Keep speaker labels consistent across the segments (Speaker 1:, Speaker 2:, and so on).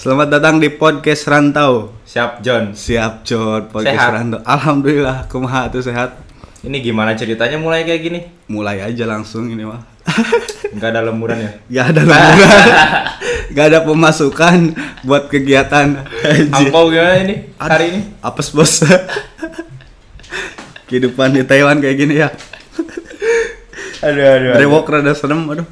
Speaker 1: Selamat datang di podcast Rantau.
Speaker 2: Siap John.
Speaker 1: Siap John, podcast
Speaker 2: Sehat.
Speaker 1: Rantau. Alhamdulillah, kumaha tuh sehat.
Speaker 2: Ini gimana ceritanya mulai kayak gini?
Speaker 1: Mulai aja langsung ini mah.
Speaker 2: Nggak ada lemburan ya?
Speaker 1: Gak ada laporan. Gak ada pemasukan buat kegiatan. Anjir.
Speaker 2: Angpau gimana ini hari ini?
Speaker 1: Apes bos. Kehidupan di Taiwan kayak gini ya.
Speaker 2: Aduh aduh.
Speaker 1: Brewok rada serem, aduh.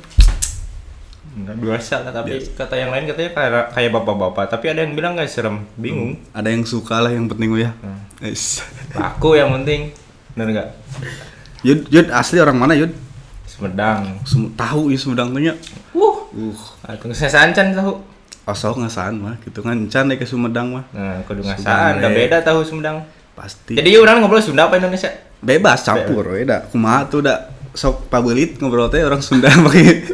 Speaker 2: Nggak biasa lah, tapi kata yang lain katanya kayak kayak bapak-bapak, tapi ada yang bilang nggak serem, bingung.
Speaker 1: Ada yang suka lah yang penting ya.
Speaker 2: Hmm.
Speaker 1: Guys.
Speaker 2: Aku yang penting, bener nggak?
Speaker 1: Yud, Yud asli orang mana Yud?
Speaker 2: Sumedang.
Speaker 1: Sem- Tahu ya Sumedang tuhnya.
Speaker 2: Wuh.
Speaker 1: Uh,
Speaker 2: Atung saya sancan tahu.
Speaker 1: asal ngasaan mah gitu kan encan deh ke Sumedang mah.
Speaker 2: Nah, kudu
Speaker 1: Sumedang,
Speaker 2: ngasaan, udah
Speaker 1: eh.
Speaker 2: beda tahu Sumedang.
Speaker 1: Pasti.
Speaker 2: Jadi yuk orang ngobrol Sunda apa Indonesia?
Speaker 1: bebas campur we da kumaha tuh da sok pabeulit ngobrol teh orang Sunda pakai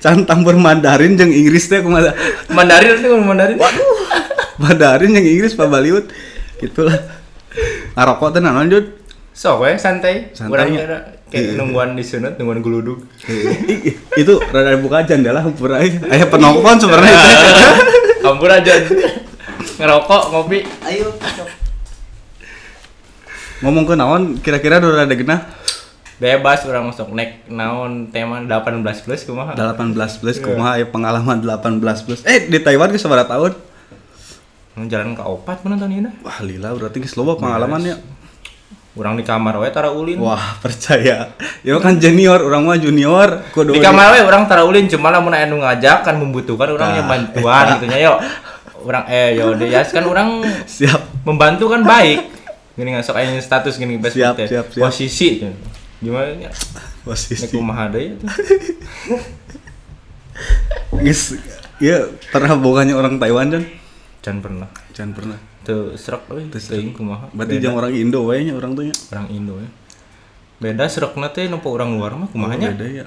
Speaker 1: can campur Mandarin jeung Inggris teh kumaha
Speaker 2: Mandarin nanti ngomong Mandarin.
Speaker 1: Mandarin jeung Inggris pabaliut gitulah ngarokok teh nah, naon Jud
Speaker 2: Sok we santai.
Speaker 1: Santai,
Speaker 2: Orang
Speaker 1: ya.
Speaker 2: ada kayak nungguan di sunat, nungguan guluduk.
Speaker 1: I- itu rada buka jendela hampir aja aya penonton sebenarnya teh
Speaker 2: Ampun aja. Ngerokok, ngopi.
Speaker 3: Ayo,
Speaker 1: ngomong ke naon kira-kira udah rada genah
Speaker 2: Bebas orang masuk nek naon tema 18 plus kumaha.
Speaker 1: 18 plus kumaha aya pengalaman 18 plus eh di Taiwan geus sabaraha tahun
Speaker 2: Jalan ke opat mana tahun ini?
Speaker 1: wah lila berarti geus loba ya. pengalamannya
Speaker 2: Orang di kamar we tara ulin.
Speaker 1: Wah percaya, ya kan junior, orang mah junior, kudu
Speaker 2: Di kamar we orang tara ulin cuma lamun aya nu ngajak kan membutuhkan
Speaker 1: iya.
Speaker 2: orangnya
Speaker 1: Nah,
Speaker 2: bantuan gitu nya yo. Orang eh yo deh ya kan orang
Speaker 1: siap
Speaker 2: membantu kan baik. Gini ngasok aya status gini best
Speaker 1: Siap,
Speaker 2: teh.
Speaker 1: siap, siap.
Speaker 2: Posisi tuh. gimana nya? Nek
Speaker 1: posisi.
Speaker 2: kumaha deui tuh.
Speaker 1: Guys, ya pernah bukannya orang Taiwan kan?
Speaker 2: Can pernah.
Speaker 1: Jangan pernah.
Speaker 2: Tuh serak euy. Teuing kumaha.
Speaker 1: Berarti jangan orang Indo wayanya orang tuh nya.
Speaker 2: orang Indo ya. Beda serakna teh nempo orang luar mah kumahanya.
Speaker 1: Beda ya.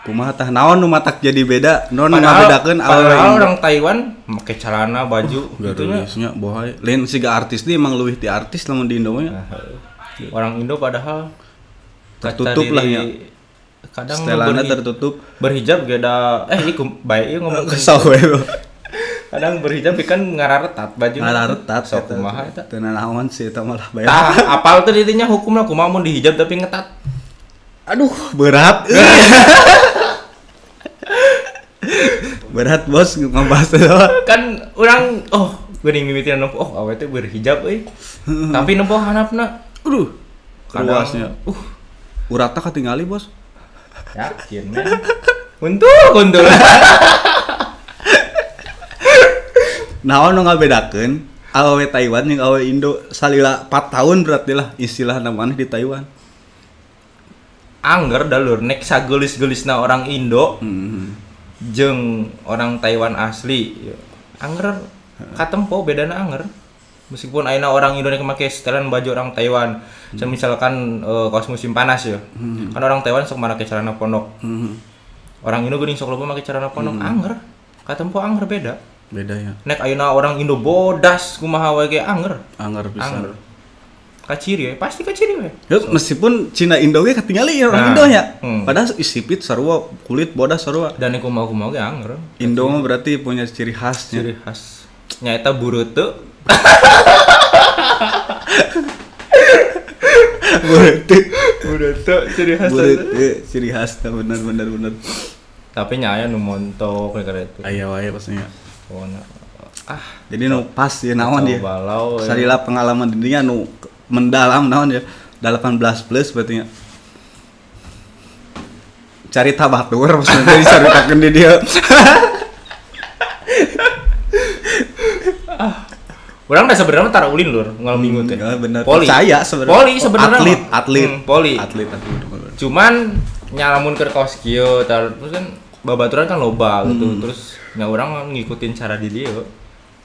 Speaker 1: Kumaha tah naon nu matak jadi beda? Naon nu ngabedakeun
Speaker 2: Padahal,
Speaker 1: awal
Speaker 2: padahal
Speaker 1: Indo. Oh,
Speaker 2: orang Taiwan pakai celana, baju gitu ya.
Speaker 1: Garisnya bohay. Lain siga artis dia emang leuwih ti artis lamun di Indo
Speaker 2: Nah,
Speaker 1: nya.
Speaker 2: Orang Indo padahal kaca
Speaker 1: Tertutup
Speaker 2: diri-
Speaker 1: lah ya.
Speaker 2: Kadang
Speaker 1: Setelana
Speaker 2: berhi-
Speaker 1: tertutup.
Speaker 2: berhijab geda eh ieu kum- bae ieu ngomong
Speaker 1: Kesel we.
Speaker 2: kadang berhijab ieu kan ngararetat baju
Speaker 1: Ngararetat Ya.
Speaker 2: sok kumaha eta
Speaker 1: Teu naon sih eta malah bayar.
Speaker 2: tah apal teh dirinya hukumna kumaha mun dihijab tapi ngetat
Speaker 1: Aduh, berat. berat bos ngebahas itu.
Speaker 2: kan orang oh geuning mimitian nempo oh awe teh berhijab euy tapi nempo hanapna
Speaker 1: Aduh,
Speaker 2: kadang
Speaker 1: luasnya.
Speaker 2: uh
Speaker 1: Urata katingali bos.
Speaker 2: Yakin men. Untul, untul.
Speaker 1: Naon nu ngabedakeun awewe Taiwan jeung awewe Indo salila 4 tahun berarti lah istilah namanya di Taiwan.
Speaker 2: Angger dalur nek sagelis-gelisna orang Indo
Speaker 1: Hmm.
Speaker 2: jeung orang Taiwan asli. Angger katempo bedana angger. Meskipun ayeuna orang Indonesia make setelan baju orang Taiwan, Saya misalkan eh, kaos musim panas ya. Kan orang Taiwan sok make celana pondok.
Speaker 1: Hmm.
Speaker 2: Orang Indo geuning sok loba make celana pondok angger. Katempo angger beda.
Speaker 1: Beda ya.
Speaker 2: Nek ayeuna orang Indo bodas kumaha wae ge angger.
Speaker 1: Anggar pisan.
Speaker 2: Angger. Kaciri we, pasti kaciri we.
Speaker 1: Ya, meskipun Cina Indo ge katingali ya orang
Speaker 2: Nah,
Speaker 1: Indo nya.
Speaker 2: hmm.
Speaker 1: Padahal isipit sarua, kulit bodas sarua.
Speaker 2: dan ya, aku mau mau ge anger
Speaker 1: Indo mah berarti punya ciri khasnya.
Speaker 2: ciri khas nyaeta burutu
Speaker 1: Berarti
Speaker 2: burutu ciri
Speaker 1: Burit, eh, ciri khas nah, bener bener bener
Speaker 2: tapi nyaya nu montok kayak kata itu
Speaker 1: ayah ayah pastinya
Speaker 2: oh, na- ah
Speaker 1: jadi nu pas ya naon
Speaker 2: Kacau
Speaker 1: dia
Speaker 2: balau, ya.
Speaker 1: salila pengalaman dirinya nu ke- mendalam naon ya 18 plus berarti nya. cari tabatur maksudnya diceritakan di dia
Speaker 2: orang udah sebenarnya tara ulin lur ngal minggu teh
Speaker 1: Enggak, bener
Speaker 2: poli
Speaker 1: percaya sebenarnya
Speaker 2: poli sebenarnya mah.
Speaker 1: atlet atlet
Speaker 2: Hmm, poli
Speaker 1: atlet atlet bener.
Speaker 2: cuman nyalamun ke kaos kieu tar terus kan babaturan kan loba gitu
Speaker 1: Hmm.
Speaker 2: terus nya orang ngikutin cara di dia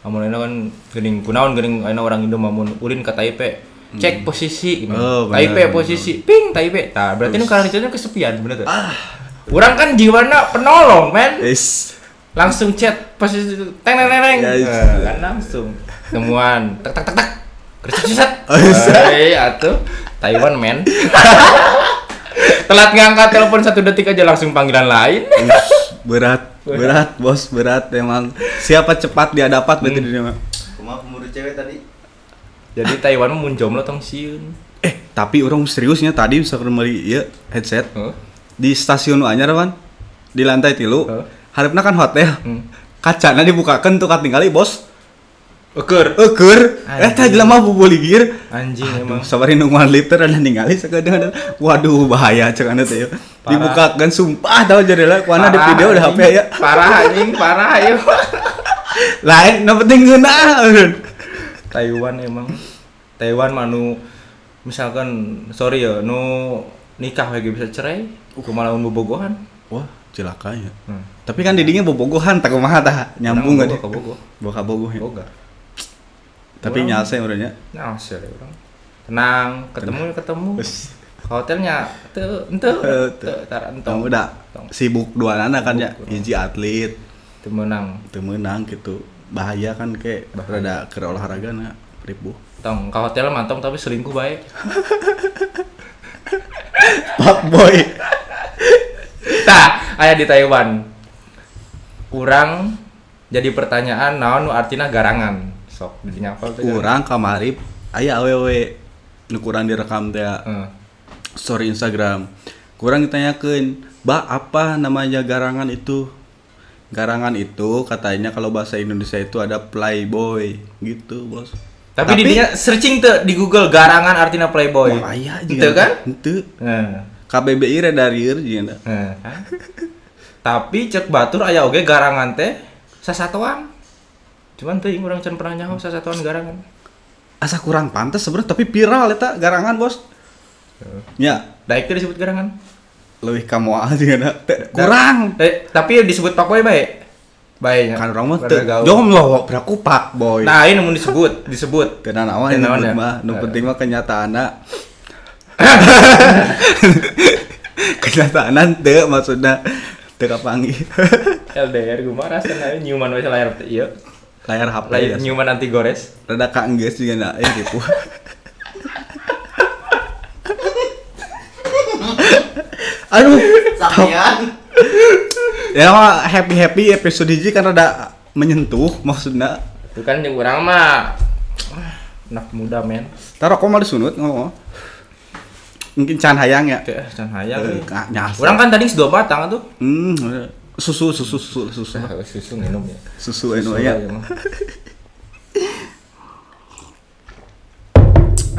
Speaker 2: amun ayeuna kan geuning kunaon geuning ayeuna orang Indo mamun ulin ke Taipei cek posisi gitu.
Speaker 1: Hmm. Oh, benar,
Speaker 2: Taipei
Speaker 1: benar.
Speaker 2: posisi ping Taipei tah berarti nu karena kesepian bener tuh orang kan jiwana penolong men
Speaker 1: Yes.
Speaker 2: langsung chat posisi teng teng teng teng
Speaker 1: Yes.
Speaker 2: Nah, kan langsung temuan tak tak tak tak kerja
Speaker 1: Oh, yes.
Speaker 2: eh atuh Taiwan men telat ngangkat telepon satu detik aja langsung panggilan lain
Speaker 1: Ush, berat berat bos berat emang siapa cepat dia dapat berarti
Speaker 2: Hmm.
Speaker 1: di dunia
Speaker 3: Kumaha pemburu cewek tadi?
Speaker 2: Jadi Taiwan mah mun jomblo tong sieun.
Speaker 1: eh tapi orang seriusnya tadi bisa kembali iya headset
Speaker 2: Heeh.
Speaker 1: di stasiun nu anyar kan di lantai tilu
Speaker 2: Heeh.
Speaker 1: harapna kan hotel
Speaker 2: Hmm.
Speaker 1: kacana dibukakan tuh katingali bos Eh,
Speaker 2: Eker.
Speaker 1: eukeur
Speaker 2: Anjing.
Speaker 1: eta jelema bubuligir
Speaker 2: Anjing
Speaker 1: Emang
Speaker 2: emang.
Speaker 1: sabarin nungguan lift teh ada ningali sakadeng waduh bahaya cek anu teh ya.
Speaker 2: Parah.
Speaker 1: dibukakan sumpah tahu jadilah kuana di
Speaker 2: Parah,
Speaker 1: video udah HP
Speaker 2: anjing.
Speaker 1: ya
Speaker 2: Parah anjing, parah ayo.
Speaker 1: lain nu penting ngeunah
Speaker 2: Taiwan emang. Taiwan mah nu misalkan sorry ya, nu nikah lagi bisa cerai, kumaha lamun bobogohan.
Speaker 1: wah celaka ya
Speaker 2: Uh. Hmm.
Speaker 1: tapi kan didinya bobogohan tak kumaha tah nyambung
Speaker 2: Orang
Speaker 1: gak dia
Speaker 2: boga bogoh.
Speaker 1: boga bogoh ya.
Speaker 2: Boga.
Speaker 1: tapi
Speaker 2: Orang-
Speaker 1: nyalse urangnya
Speaker 2: Nah, hasil ya orang. Tenang, ketemu ya ketemu.
Speaker 1: Wes.
Speaker 2: Ke hotelnya teu ente
Speaker 1: Teu, teu.
Speaker 2: teu tarantong.
Speaker 1: tahu udah sibuk dua anak kan ya
Speaker 2: Kan Sibuk,
Speaker 1: hiji atlet
Speaker 2: Teu menang.
Speaker 1: teu meunang gitu bahaya kan kayak rada keur olahraga na ribu
Speaker 2: Tong ke hotel mantong tapi selingkuh baik.
Speaker 1: pak boy
Speaker 2: Tah, aya di Taiwan. Kurang jadi pertanyaan naon nu artina garangan. Sok jadi nyapal teh.
Speaker 1: kurang kamari aya awewe nu kurang direkam teh
Speaker 2: Heeh.
Speaker 1: story Instagram kurang ditanyakan ba apa namanya garangan itu garangan itu katanya kalau bahasa Indonesia itu ada playboy gitu bos
Speaker 2: Tapi, di dinya searching teu di Google garangan artina playboy.
Speaker 1: bahaya
Speaker 2: Teu kan? Eh.
Speaker 1: itu
Speaker 2: Heeh.
Speaker 1: KBBI dari jeung
Speaker 2: Heeh. Eh. Tapi cek batur aya oge garangan teh sasatoan. Cuman teuing urang can pernah nyaho sasatoan garangan.
Speaker 1: asa kurang pantas sebenarnya tapi viral eta garangan bos ya
Speaker 2: Daik teh disebut garangan.
Speaker 1: lebih kamu aja ada kurang
Speaker 2: Eh, tapi disebut pakoy bae. Bae nya.
Speaker 1: kan orang mah
Speaker 2: Baru gaul.
Speaker 1: jomblo beraku pak boy
Speaker 2: Nah, ini mun disebut, disebut.
Speaker 1: tenan awal
Speaker 2: Teu
Speaker 1: yang
Speaker 2: naon ya?
Speaker 1: mah nu
Speaker 2: Eh.
Speaker 1: penting mah kenyataanna kenyataan teu maksudna teu kapanggih
Speaker 2: LDR gue marah sana nyuman wes layar teh, iya
Speaker 1: layar HP
Speaker 2: layar
Speaker 1: ya.
Speaker 2: nyuman anti gores
Speaker 1: rada kaenggeus juga na eh gitu aduh
Speaker 3: Sampean.
Speaker 1: ya mah happy happy episode hiji kan rada menyentuh maksudnya
Speaker 2: itu kan yang kurang mah ah, anak muda men
Speaker 1: taruh kok mau disunut ngomong mungkin can hayang ya
Speaker 2: kayak can hayang
Speaker 1: Eh,
Speaker 2: nih.
Speaker 1: ka- nyasar.
Speaker 2: orang kan tadi sudah batang tuh
Speaker 1: Hmm, susu susu susu susu
Speaker 2: susu minum ya
Speaker 1: susu anu ya.
Speaker 2: aja mah.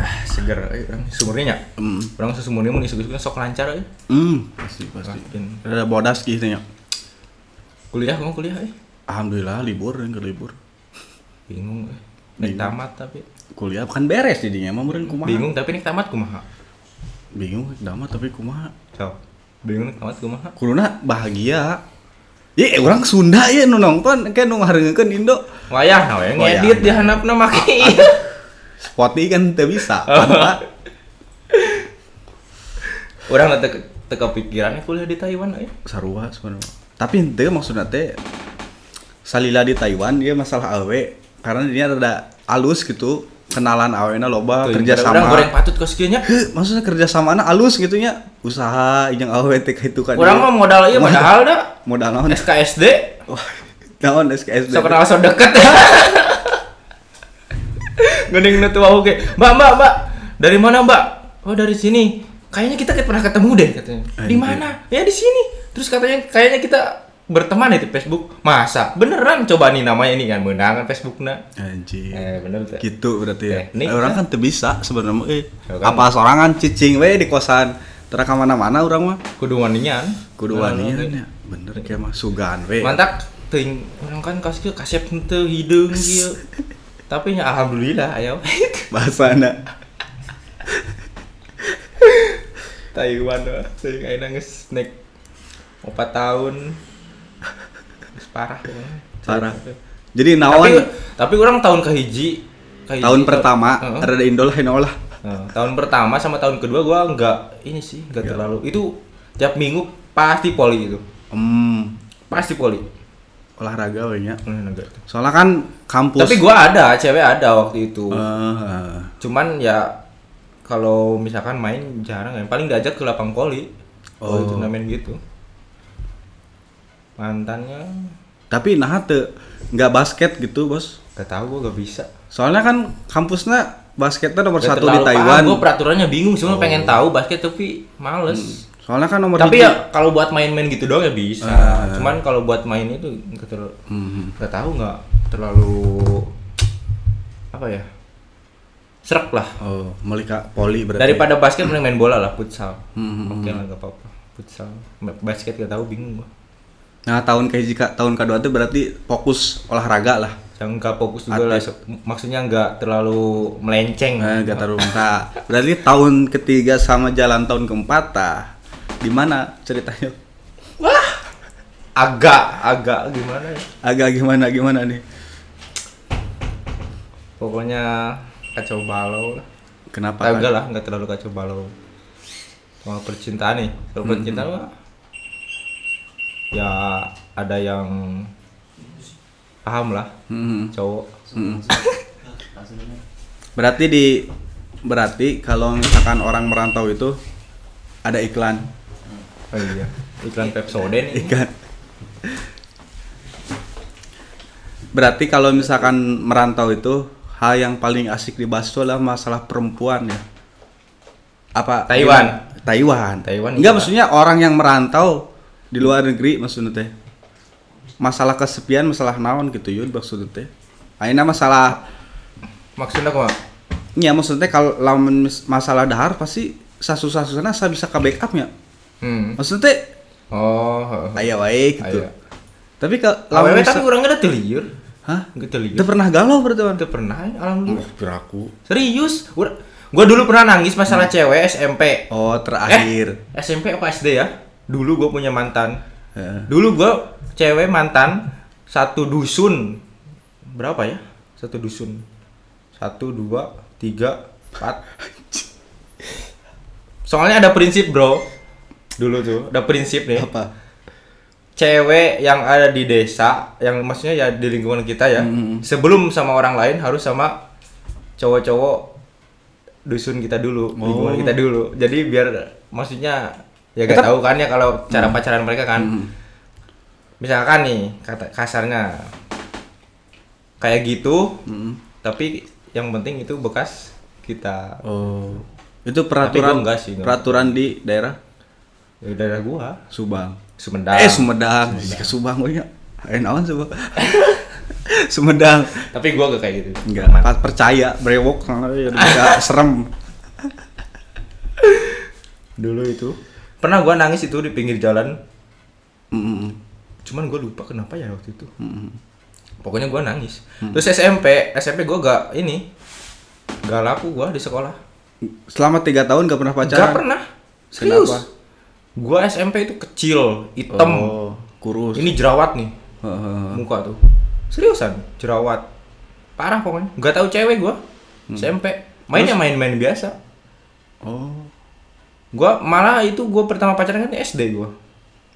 Speaker 2: Ah, seger eh, orang sumurnya nya
Speaker 1: Hmm.
Speaker 2: orang susu murni mun isuk sok lancar eh. euy
Speaker 1: Hmm, pasti pasti.
Speaker 2: Makin.
Speaker 1: Ada bodas gitu ya.
Speaker 2: kuliah kamu kuliah eh
Speaker 1: Alhamdulillah libur dan libur.
Speaker 2: bingung eh nek
Speaker 1: Bingung.
Speaker 2: tamat tapi
Speaker 1: Kuliah kan beres jadinya, mah meureun kumaha?
Speaker 2: bingung tapi nek tamat kumaha
Speaker 1: Bingung dama tapi kumaha?
Speaker 2: sok bingung nek tamat kumaha
Speaker 1: Kuluna bahagia. Ye, orang Sunda ya nu nonton kayak nu ngaharengkeun Indo.
Speaker 2: Wayah nah we
Speaker 1: Wayah.
Speaker 2: ngedit di handapna maki.
Speaker 1: Spotify kan teu bisa.
Speaker 2: Urang teu teu kepikiran eh, kuliah di Taiwan euy.
Speaker 1: Sarua sebenarnya. Tapi henteu maksudna teh salila di Taiwan dia masalah awe karena dia rada alus gitu kenalan awena loba
Speaker 2: Teuing
Speaker 1: kerja
Speaker 2: Urang goreng
Speaker 1: sama
Speaker 2: patut kos kieu nya.
Speaker 1: Heh, maksudnya kerjasama na alus gitu nya usaha yang awe teh itu kan
Speaker 2: Urang mah modal ieu padahal da
Speaker 1: modal naon
Speaker 2: SKSD
Speaker 1: Wah, naon SKSD
Speaker 2: sok kenal sok deket. Gening nu tua oge. Mbak, Mbak, Mbak. Dari mana, Mbak? Oh, dari sini. Kayaknya kita pernah ketemu deh katanya. Di
Speaker 1: Anjing.
Speaker 2: mana? Ya di sini. Terus katanya kayaknya kita berteman ya di Facebook. Masa? Beneran coba nih namanya ini kan menang Facebooknya.
Speaker 1: anjing
Speaker 2: Eh, bener tuh.
Speaker 1: Iya. gitu berarti ya
Speaker 2: Eh, nih.
Speaker 1: Eh, orang kan teu bisa sebenarnya eh
Speaker 2: Ya kan.
Speaker 1: apa sorangan cicing we di kosan terak mana-mana orang mah
Speaker 2: kudu wanian
Speaker 1: kudu
Speaker 2: Nah,
Speaker 1: wanian
Speaker 2: oke.
Speaker 1: ya bener kayak mah sugan we
Speaker 2: mantap ting orang kan kasih kasep henteu hideung kieu tapi ya alhamdulillah ayo
Speaker 1: bahasana
Speaker 2: Taiwan wah teuing ayeuna geus snack 4 tahun Geus parah pokoknya.
Speaker 1: parah jadi
Speaker 2: tapi
Speaker 1: naon
Speaker 2: tapi orang tahun kahiji kahiji
Speaker 1: tahun
Speaker 2: ta-
Speaker 1: pertama
Speaker 2: Heeh.
Speaker 1: rada indol hena lah
Speaker 2: Heeh, tahun pertama sama tahun kedua gua enggak ini sih enggak terlalu itu tiap minggu pasti poli itu
Speaker 1: hmm,
Speaker 2: pasti poli
Speaker 1: olahraga we nya
Speaker 2: Hmm, enggak.
Speaker 1: soalnya kan kampus
Speaker 2: tapi gua ada cewek ada waktu itu
Speaker 1: Eh, eh.
Speaker 2: cuman ya kalau misalkan main jarang ya paling diajak ke lapang poli oh.
Speaker 1: Oh.
Speaker 2: turnamen gitu mantannya
Speaker 1: Tapi nah teu nggak basket gitu, Bos.
Speaker 2: gak tahu gue gak bisa
Speaker 1: Soalnya kan kampusnya basketnya nomor
Speaker 2: Gak
Speaker 1: satu di
Speaker 2: terlalu
Speaker 1: Taiwan. Oh.
Speaker 2: paham, gue peraturannya bingung cuma pengen tahu basket tapi males
Speaker 1: Soalnya kan nomor
Speaker 2: tapi
Speaker 1: tiga.
Speaker 2: ya kalau buat main-main gitu doang ya bisa
Speaker 1: Ah,
Speaker 2: cuman kalau buat main itu nggak terlalu
Speaker 1: Hmm.
Speaker 2: nggak tahu nggak terlalu apa ya serak lah
Speaker 1: Oh, melika poli berarti.
Speaker 2: daripada basket mending main bola lah futsal
Speaker 1: Hmm,
Speaker 2: oke lah nggak apa-apa futsal basket gak tahu bingung gua
Speaker 1: Nah, tahun ke jika tahun kedua itu berarti fokus olahraga lah.
Speaker 2: yang nggak fokus juga lah maksudnya nggak terlalu melenceng
Speaker 1: Eh, gak taruh nah, Berarti tahun ketiga sama jalan tahun keempat tah. Gimana ceritanya?
Speaker 2: agak agak gimana ya
Speaker 1: Agak gimana gimana nih?
Speaker 2: pokoknya kacau balau lah
Speaker 1: Kenapa?
Speaker 2: Tapi enggak
Speaker 1: kan?
Speaker 2: lah nggak terlalu kacau balau sama percintaan nih kalau
Speaker 1: Hmm,
Speaker 2: percintaan mah ya ada yang paham lah
Speaker 1: Hmm.
Speaker 2: cowok
Speaker 3: Langsung aja.
Speaker 1: Berarti di berarti kalau misalkan orang merantau itu ada iklan.
Speaker 2: oh iya iklan Pepsode nih
Speaker 1: Iklan. Berarti kalau misalkan merantau itu hal yang paling asik dibahas itu adalah masalah perempuan ya. Apa
Speaker 2: Taiwan.
Speaker 1: Taiwan.
Speaker 2: Taiwan iya.
Speaker 1: Enggak
Speaker 2: gimana?
Speaker 1: maksudnya orang yang merantau di luar negeri maksudnya teh. Masalah kesepian, masalah naon gitu yun maksudnya teh. Akhirnya masalah
Speaker 2: maksudnya kok
Speaker 1: Ya maksudnya kalau lamun mis- masalah dahar pasti sasu-sasusana saya bisa ke backupnya.
Speaker 2: hmm.
Speaker 1: Maksudnya
Speaker 2: oh
Speaker 1: aya wae gitu.
Speaker 2: Aya. kan
Speaker 1: Tapi kalau lamun
Speaker 2: Awewe
Speaker 1: misa-
Speaker 2: tapi kurang ada teliur
Speaker 1: Hah?
Speaker 2: nggak teliur
Speaker 1: Itu pernah galau berarti Wan?
Speaker 2: itu pernah eh, alhamdulillah
Speaker 1: Piraku.
Speaker 2: serius Ur- gua dulu pernah nangis masalah cewek SMP
Speaker 1: Oh, terakhir.
Speaker 2: eh, SMP apa SD ya dulu gua punya mantan
Speaker 1: Heeh.
Speaker 2: dulu gua cewek mantan satu dusun berapa ya satu dusun satu dua tiga empat soalnya ada prinsip bro dulu tuh ada prinsip nih
Speaker 1: Apa?
Speaker 2: cewek yang ada di desa yang maksudnya ya di lingkungan kita ya
Speaker 1: Mm-hmm.
Speaker 2: sebelum sama orang lain harus sama cowok-cowok dusun kita dulu
Speaker 1: Oh.
Speaker 2: lingkungan kita dulu jadi biar maksudnya ya gak tahu kan ya kalau
Speaker 1: Mm-hmm.
Speaker 2: cara pacaran mereka kan misalkan nih kata kasarnya kayak gitu tapi yang penting itu bekas kita
Speaker 1: Oh. Itu
Speaker 2: gua
Speaker 1: peraturan
Speaker 2: enggak sih, enggak.
Speaker 1: peraturan di daerah
Speaker 2: ya, daerah gua
Speaker 1: Subang.
Speaker 2: Nah. Sumedang
Speaker 1: Eh, Sumedang. Jika Subang we nya. Eh, naon Subang? Sumedang.
Speaker 2: tapi gua gak kayak gitu
Speaker 1: Enggak, pa- percaya brewok soalnya ya enggak serem.
Speaker 2: dulu itu pernah gua nangis itu di pinggir jalan
Speaker 1: Mm, mm,
Speaker 2: cuman gue lupa kenapa ya waktu itu pokoknya gue nangis terus SMP SMP gue gak ini gak laku gue di sekolah
Speaker 1: mm. Selama tiga tahun gak pernah pacaran.
Speaker 2: gak pernah serius
Speaker 1: Kenapa?
Speaker 2: gue SMP itu kecil hitam
Speaker 1: Oh, kurus.
Speaker 2: ini jerawat nih
Speaker 1: Heeh.
Speaker 2: muka tuh seriusan jerawat parah pokoknya gak tahu cewek gue
Speaker 1: Hmm.
Speaker 2: SMP mainnya main-main biasa
Speaker 1: oh.
Speaker 2: gue malah itu gue pertama pacaran kan SD gue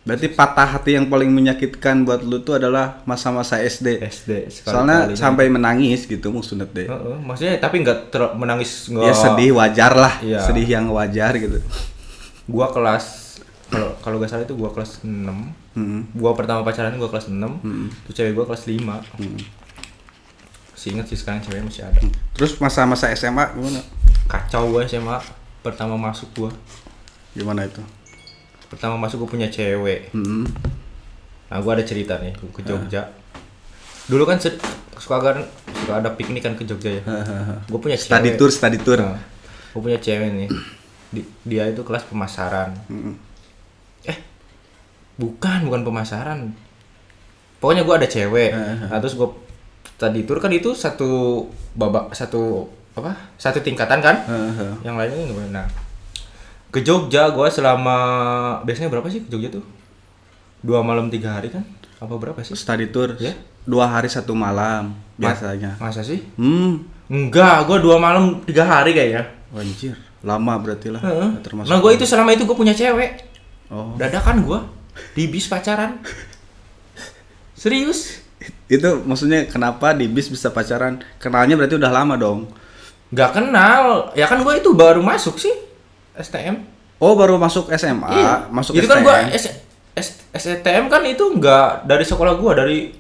Speaker 1: Berarti patah hati yang paling menyakitkan buat lu tuh adalah masa-masa SD.
Speaker 2: SD Eh, sekali
Speaker 1: Soalnya sampai menangis gitu maksudnya deh.
Speaker 2: maksudnya tapi nggak ter- menangis nggak
Speaker 1: Ya sedih wajar lah,
Speaker 2: Oh. Iya.
Speaker 1: sedih yang wajar gitu.
Speaker 2: gua kelas kalau kalau gak salah itu gua kelas 6
Speaker 1: Hmm.
Speaker 2: gua pertama pacaran gua kelas 6 tuh cewek gua kelas 5
Speaker 1: Hmm.
Speaker 2: masih inget sih sekarang cewek masih ada
Speaker 1: Terus masa-masa SMA gimana?
Speaker 2: kacau gua SMA pertama masuk gua
Speaker 1: Gimana itu?
Speaker 2: pertama masuk gua punya cewek
Speaker 1: Hmm. Ah.
Speaker 2: nah gua ada cerita nih gua ke Jogja dulu kan se- suka kan suka ada piknik kan ke Jogja ya gua punya
Speaker 1: Ah. Study
Speaker 2: cewek
Speaker 1: tour, study tour.
Speaker 2: Nah, gua punya cewek nih Di- dia itu kelas pemasaran
Speaker 1: Mm-mm.
Speaker 2: eh bukan bukan pemasaran pokoknya gue ada cewek nah, terus gue tadi tur kan itu satu babak satu apa satu tingkatan kan
Speaker 1: Heeh.
Speaker 2: yang lainnya nggak boleh. nah ke Jogja gue selama biasanya berapa sih ke Jogja tuh dua malam tiga hari kan apa berapa sih
Speaker 1: Study tour
Speaker 2: Ya.
Speaker 1: dua hari satu malam
Speaker 2: Ma-
Speaker 1: biasanya.
Speaker 2: masa sih
Speaker 1: Hmm.
Speaker 2: enggak gue dua malam tiga hari kayaknya
Speaker 1: Anjir, lama berarti lah.
Speaker 2: Heeh.
Speaker 1: Termasuk.
Speaker 2: nah gue itu selama itu gue punya cewek
Speaker 1: Oh.
Speaker 2: dadakan gue di bis pacaran serius
Speaker 1: Itu maksudnya kenapa di bis bisa pacaran? Kenalnya berarti udah lama dong.
Speaker 2: Gak kenal, ya kan gue itu baru masuk sih STM.
Speaker 1: Oh, baru masuk SMA,
Speaker 2: Iya.
Speaker 1: masuk
Speaker 2: itu
Speaker 1: STM.
Speaker 2: kan gue S- S- STM kan itu enggak dari sekolah gua dari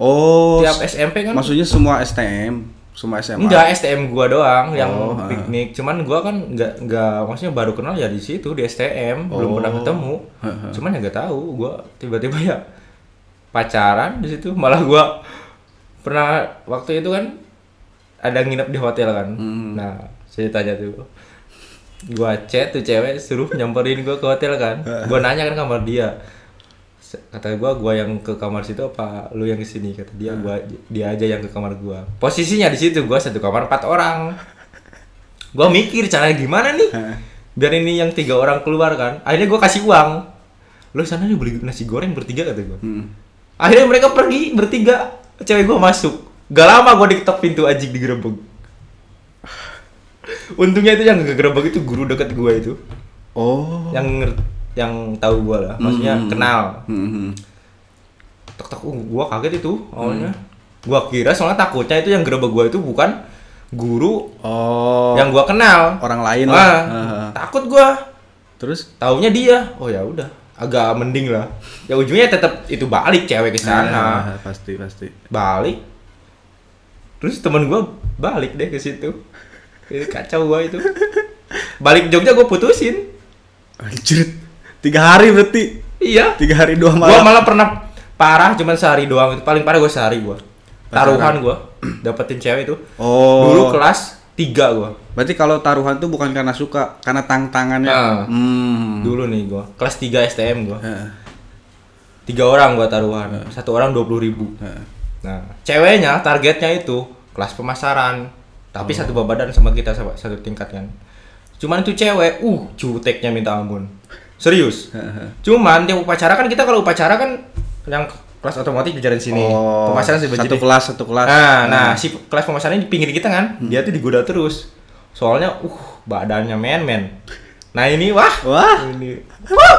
Speaker 1: Oh,
Speaker 2: tiap
Speaker 1: s-
Speaker 2: SMP kan
Speaker 1: maksudnya semua STM, semua SMA.
Speaker 2: enggak STM gua doang yang
Speaker 1: Oh, ah.
Speaker 2: piknik cuman gua kan enggak enggak maksudnya baru kenal ya di situ di STM belum
Speaker 1: Oh.
Speaker 2: pernah ketemu cuman ya enggak tahu gua tiba-tiba ya pacaran di situ malah gua pernah waktu itu kan ada nginep di hotel kan
Speaker 1: Hmm.
Speaker 2: nah ceritanya tuh gua chat tuh cewek suruh nyamperin gua ke hotel kan gua nanya kan kamar dia Se- kata gua gua yang ke kamar situ apa lu yang kesini kata dia gua dia aja yang ke kamar gua posisinya di situ gua satu kamar empat orang gua mikir caranya gimana nih biar ini yang tiga orang keluar kan akhirnya gua kasih uang lu sana nih beli nasi goreng bertiga kata gua
Speaker 1: Hmm.
Speaker 2: akhirnya mereka pergi bertiga cewek gua masuk gak lama gua diketok pintu anjing digerebek untungnya itu yang ngegerebek itu guru deket gua itu
Speaker 1: Oh.
Speaker 2: yang nger- yang tahu gua lah maksudnya
Speaker 1: Hmm.
Speaker 2: kenal
Speaker 1: Hmm.
Speaker 2: tok tok uh, gua kaget itu awalnya
Speaker 1: Hmm.
Speaker 2: gua kira soalnya takutnya itu yang gerebek gua itu bukan guru
Speaker 1: Oh.
Speaker 2: yang gua kenal
Speaker 1: orang lain
Speaker 2: Wah,
Speaker 1: lah. Heeh.
Speaker 2: takut gua
Speaker 1: Terus
Speaker 2: taunya dia oh ya udah agak mending lah ya ujungnya tetap itu balik cewek ke
Speaker 1: Ah,
Speaker 2: sana
Speaker 1: pasti pasti.
Speaker 2: balik terus teman gua balik deh ke situ Itu kacau gua itu balik Jogja gua putusin
Speaker 1: Anjir. Tiga hari berarti.
Speaker 2: iya
Speaker 1: Tiga hari dua
Speaker 2: Gua
Speaker 1: malam.
Speaker 2: malah pernah parah cuman sehari doang itu paling parah gue sehari gua taruhan
Speaker 1: Pacaran.
Speaker 2: gua dapetin cewek itu
Speaker 1: Oh.
Speaker 2: dulu kelas 3 gua
Speaker 1: Berarti kalau taruhan tuh bukan karena suka, karena tantangannya.
Speaker 2: Ah.
Speaker 1: Hmm.
Speaker 2: dulu nih gua kelas 3 STM gua
Speaker 1: Heeh.
Speaker 2: tiga orang gua taruhan satu orang dua puluh ribu
Speaker 1: Heeh.
Speaker 2: nah ceweknya targetnya itu kelas pemasaran tapi
Speaker 1: Hmm.
Speaker 2: satu babadan sama kita sama satu tingkat kan cuman itu cewek uh juteknya minta ampun serius
Speaker 1: Heeh.
Speaker 2: cuman tiap upacara kan kita kalau upacara kan yang kelas otomotif jajaran sini
Speaker 1: Oh.
Speaker 2: pemasaran sih
Speaker 1: satu kelas satu kelas.
Speaker 2: Nah, nah, si kelas pemasaran ini di pinggir kita kan,
Speaker 1: Hmm.
Speaker 2: dia tuh digoda terus. Soalnya uh badannya men-men. Nah, ini wah.
Speaker 1: Wah.
Speaker 2: Ini. Wah.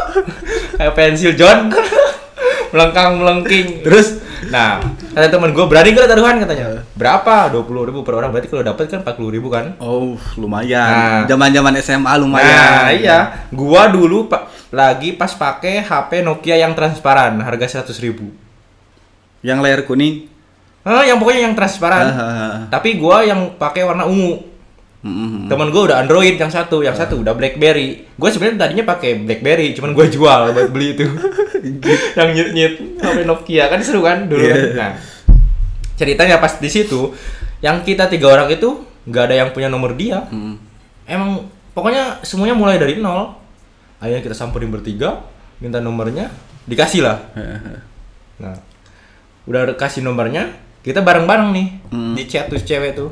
Speaker 2: Kayak pensil John. Melengkang-melengking.
Speaker 1: Terus
Speaker 2: Nah, kata temen gue berani gak taruhan katanya. Berapa? 20 ribu per orang. Berarti kalau dapat kan 40 ribu kan?
Speaker 1: Oh,
Speaker 2: Nah.
Speaker 1: lumayan. Zaman-zaman SMA lumayan.
Speaker 2: Nah, iya. Gua dulu pa- lagi pas pakai HP Nokia yang transparan, harga 100 ribu.
Speaker 1: Yang layar kuning. Ah,
Speaker 2: Eh, yang pokoknya yang transparan.
Speaker 1: Hahaha.
Speaker 2: Tapi gua yang pakai warna ungu.
Speaker 1: Mm-mm.
Speaker 2: Temen gue udah Android yang satu, yang satu udah BlackBerry. Gue sebenarnya tadinya pakai BlackBerry, cuman gue jual buat beli itu. yang nyet nyet HP Nokia kan seru kan dulu. kan?
Speaker 1: Iya.
Speaker 2: Nah, ceritanya pas di situ, yang kita tiga orang itu nggak ada yang punya nomor dia.
Speaker 1: Mm.
Speaker 2: Emang pokoknya semuanya mulai dari nol. Akhirnya kita samperin bertiga, minta nomornya, dikasih lah.
Speaker 1: mm,
Speaker 2: Nah, udah kasih nomornya, kita bareng-bareng nih di chat tuh cewek tuh.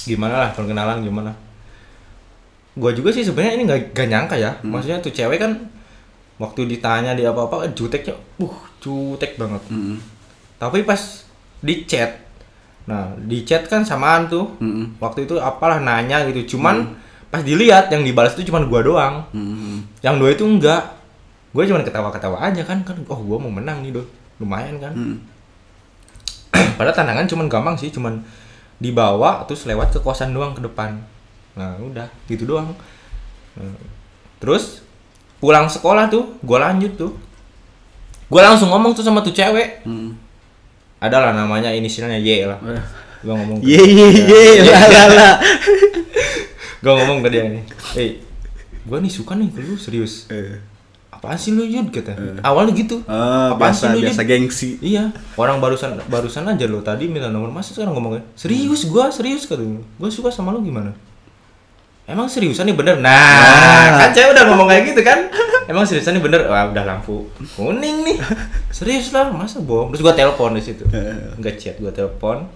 Speaker 2: Gimana lah perkenalan gimana? Gua juga sih sebenarnya ini nggak nggak nyangka ya. Maksudnya tuh cewek kan waktu ditanya dia apa-apa eh, juteknya, uh jutek banget.
Speaker 1: Mm-mm.
Speaker 2: Tapi pas di chat, nah di chat kan samaan tuh.
Speaker 1: Mm-mm.
Speaker 2: Waktu itu apalah nanya gitu, cuman pas dilihat yang dibalas itu cuman gua doang
Speaker 1: Mm-mm.
Speaker 2: yang dua itu enggak gue cuman ketawa-ketawa aja kan kan oh gue mau menang nih doi lumayan kan
Speaker 1: Mm.
Speaker 2: padahal tantangan cuman gampang sih cuman dibawa terus lewat ke kosan doang ke depan nah udah gitu doang Nah, terus pulang sekolah tuh gue lanjut tuh gue langsung ngomong tuh sama tuh cewek
Speaker 1: Mm.
Speaker 2: adalah namanya inisialnya Y lah
Speaker 1: Eh.
Speaker 2: gue ngomong
Speaker 1: Ye ye ye
Speaker 2: Iya.
Speaker 1: la la la.
Speaker 2: gue ngomong ke dia nih eh gue nih suka nih ke lu serius
Speaker 1: Eh.
Speaker 2: apaan sih lu Yud kata awalnya gitu
Speaker 1: Ah,
Speaker 2: Apaan
Speaker 1: biasa
Speaker 2: sih lu,
Speaker 1: biasa
Speaker 2: Jin?
Speaker 1: gengsi.
Speaker 2: Iya, orang barusan barusan aja lo tadi minta nomor masa sekarang ngomongnya serius gua serius katanya gua suka sama lo gimana? Emang seriusan nih bener? Nah, kan cewek udah ngomong kayak gitu kan? Emang seriusan nih bener? Wah udah lampu kuning nih. Serius lah masa bohong. Terus gua telepon di situ, nggak chat gua telepon.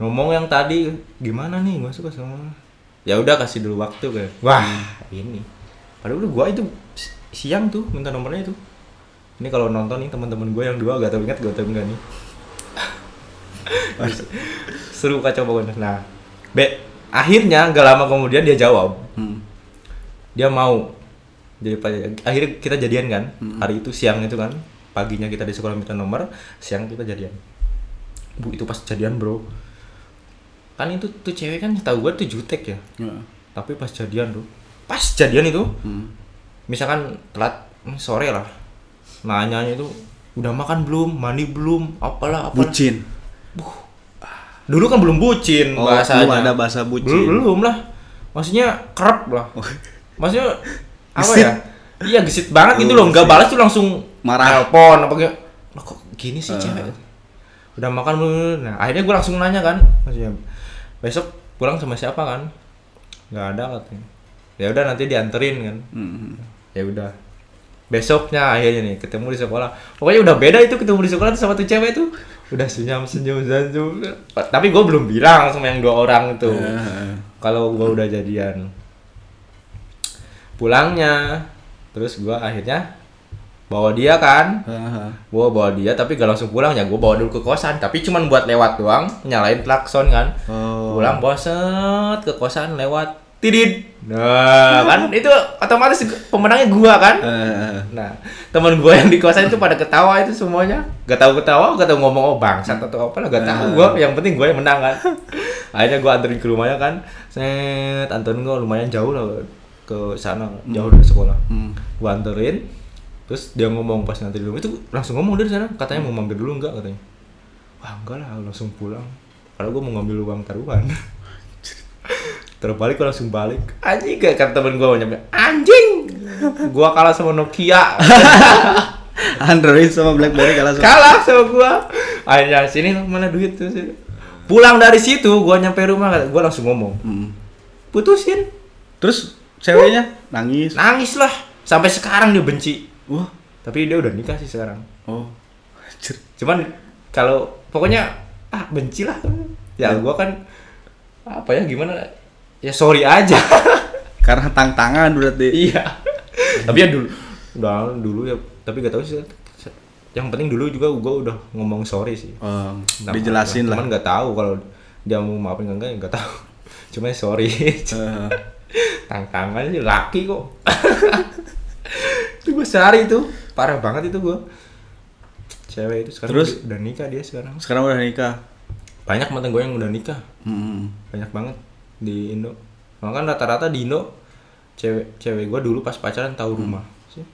Speaker 2: Ngomong yang tadi gimana nih? Gua suka sama. lo." Ya udah kasih dulu waktu kan. Wah ini. Padahal udah gua itu si- siang tuh minta nomornya itu. Ini kalau nonton nih teman-teman gue yang dua gak tau ingat gak tau enggak nih. Seru kacau banget. Nah, be akhirnya gak lama kemudian dia jawab.
Speaker 1: Hmm.
Speaker 2: Dia mau. Jadi pa- akhirnya kita jadian kan. Hari itu siang itu kan. Paginya kita di sekolah minta nomor, siang kita jadian. Bu itu pas jadian, Bro. Kan itu tuh cewek kan tahu gue tuh jutek ya.
Speaker 1: Ya.
Speaker 2: Tapi pas jadian tuh. Pas jadian itu
Speaker 1: Hmm.
Speaker 2: misalkan telat hmm, sore lah nanyanya itu udah makan belum mandi belum apalah apalah
Speaker 1: bucin
Speaker 2: dulu kan belum bucin
Speaker 1: Oh,
Speaker 2: bahasanya
Speaker 1: belum ada bahasa bucin. Oh.
Speaker 2: belum, belum lah maksudnya kerap lah maksudnya apa
Speaker 1: Gesit.
Speaker 2: ya iya gesit banget gitu
Speaker 1: Oh,
Speaker 2: loh nggak
Speaker 1: gesit.
Speaker 2: balas tuh langsung
Speaker 1: Marah. Eh.
Speaker 2: telepon apa gitu Lah, kok gini sih cewek udah makan belum nah akhirnya gue langsung nanya kan maksudnya besok pulang sama siapa kan nggak ada katanya ya udah nanti dianterin kan
Speaker 1: Hmm.
Speaker 2: ya udah besoknya akhirnya nih ketemu di sekolah pokoknya udah beda itu ketemu di sekolah tuh sama tuh cewek tuh udah senyum senyum senyum tapi gue belum bilang sama yang dua orang itu
Speaker 1: Eh,
Speaker 2: kalau gue udah jadian pulangnya terus gue akhirnya bawa dia kan
Speaker 1: eh,
Speaker 2: gue bawa dia tapi gak langsung pulang ya gue bawa dulu ke kosan tapi cuman buat lewat doang nyalain klakson kan
Speaker 1: Oh.
Speaker 2: pulang boset ke kosan lewat tidid nah kan itu otomatis pemenangnya gua kan
Speaker 1: eh,
Speaker 2: nah teman gua yang di kosan itu pada ketawa itu semuanya gak tahu ketawa gak tahu ngomong oh bangsat atau apa lah gak tahu gua yang penting gua yang menang kan akhirnya gua anterin ke rumahnya kan set anterin gua lumayan jauh lah ke sana jauh dari sekolah
Speaker 1: Hmm.
Speaker 2: gua anterin terus dia ngomong pas nanti dulu itu langsung ngomong dari sana katanya mau mampir dulu enggak katanya wah enggak lah langsung pulang kalau gua mau ngambil uang taruhan terbalik gua langsung balik anjing kayak kata temen gua nyampe anjing gua kalah sama Nokia
Speaker 1: Android sama BlackBerry kalah sama.
Speaker 2: kalah sama gua akhirnya sini mana duit tuh sini. pulang dari situ gua nyampe rumah gua langsung ngomong
Speaker 1: Hmm.
Speaker 2: putusin
Speaker 1: Terus ceweknya nangis.
Speaker 2: nangis lah sampai sekarang dia benci
Speaker 1: Wah.
Speaker 2: tapi dia udah nikah sih sekarang
Speaker 1: Oh. Anjir.
Speaker 2: cuman kalau pokoknya ah benci lah ya gua kan apa ya gimana ya sorry aja
Speaker 1: Karena tantangan berarti.
Speaker 2: iya tapi ya dulu udah dulu ya tapi gak tahu sih yang penting dulu juga gua udah ngomong sorry sih
Speaker 1: Eh,
Speaker 2: Nah,
Speaker 1: dijelasin lah.
Speaker 2: cuman nggak tahu kalau dia mau maafin nggak nggak nggak tahu cuma ya sorry
Speaker 1: Eh,
Speaker 2: tantangan sih laki kok itu gue sehari itu parah banget itu gue cewek itu sekarang
Speaker 1: Terus?
Speaker 2: udah nikah dia sekarang
Speaker 1: sekarang udah nikah.
Speaker 2: banyak mantan gue yang udah nikah
Speaker 1: Hmm.
Speaker 2: banyak banget di Indo makanya rata-rata di Indo cewek cewek gue dulu pas pacaran tahu rumah sih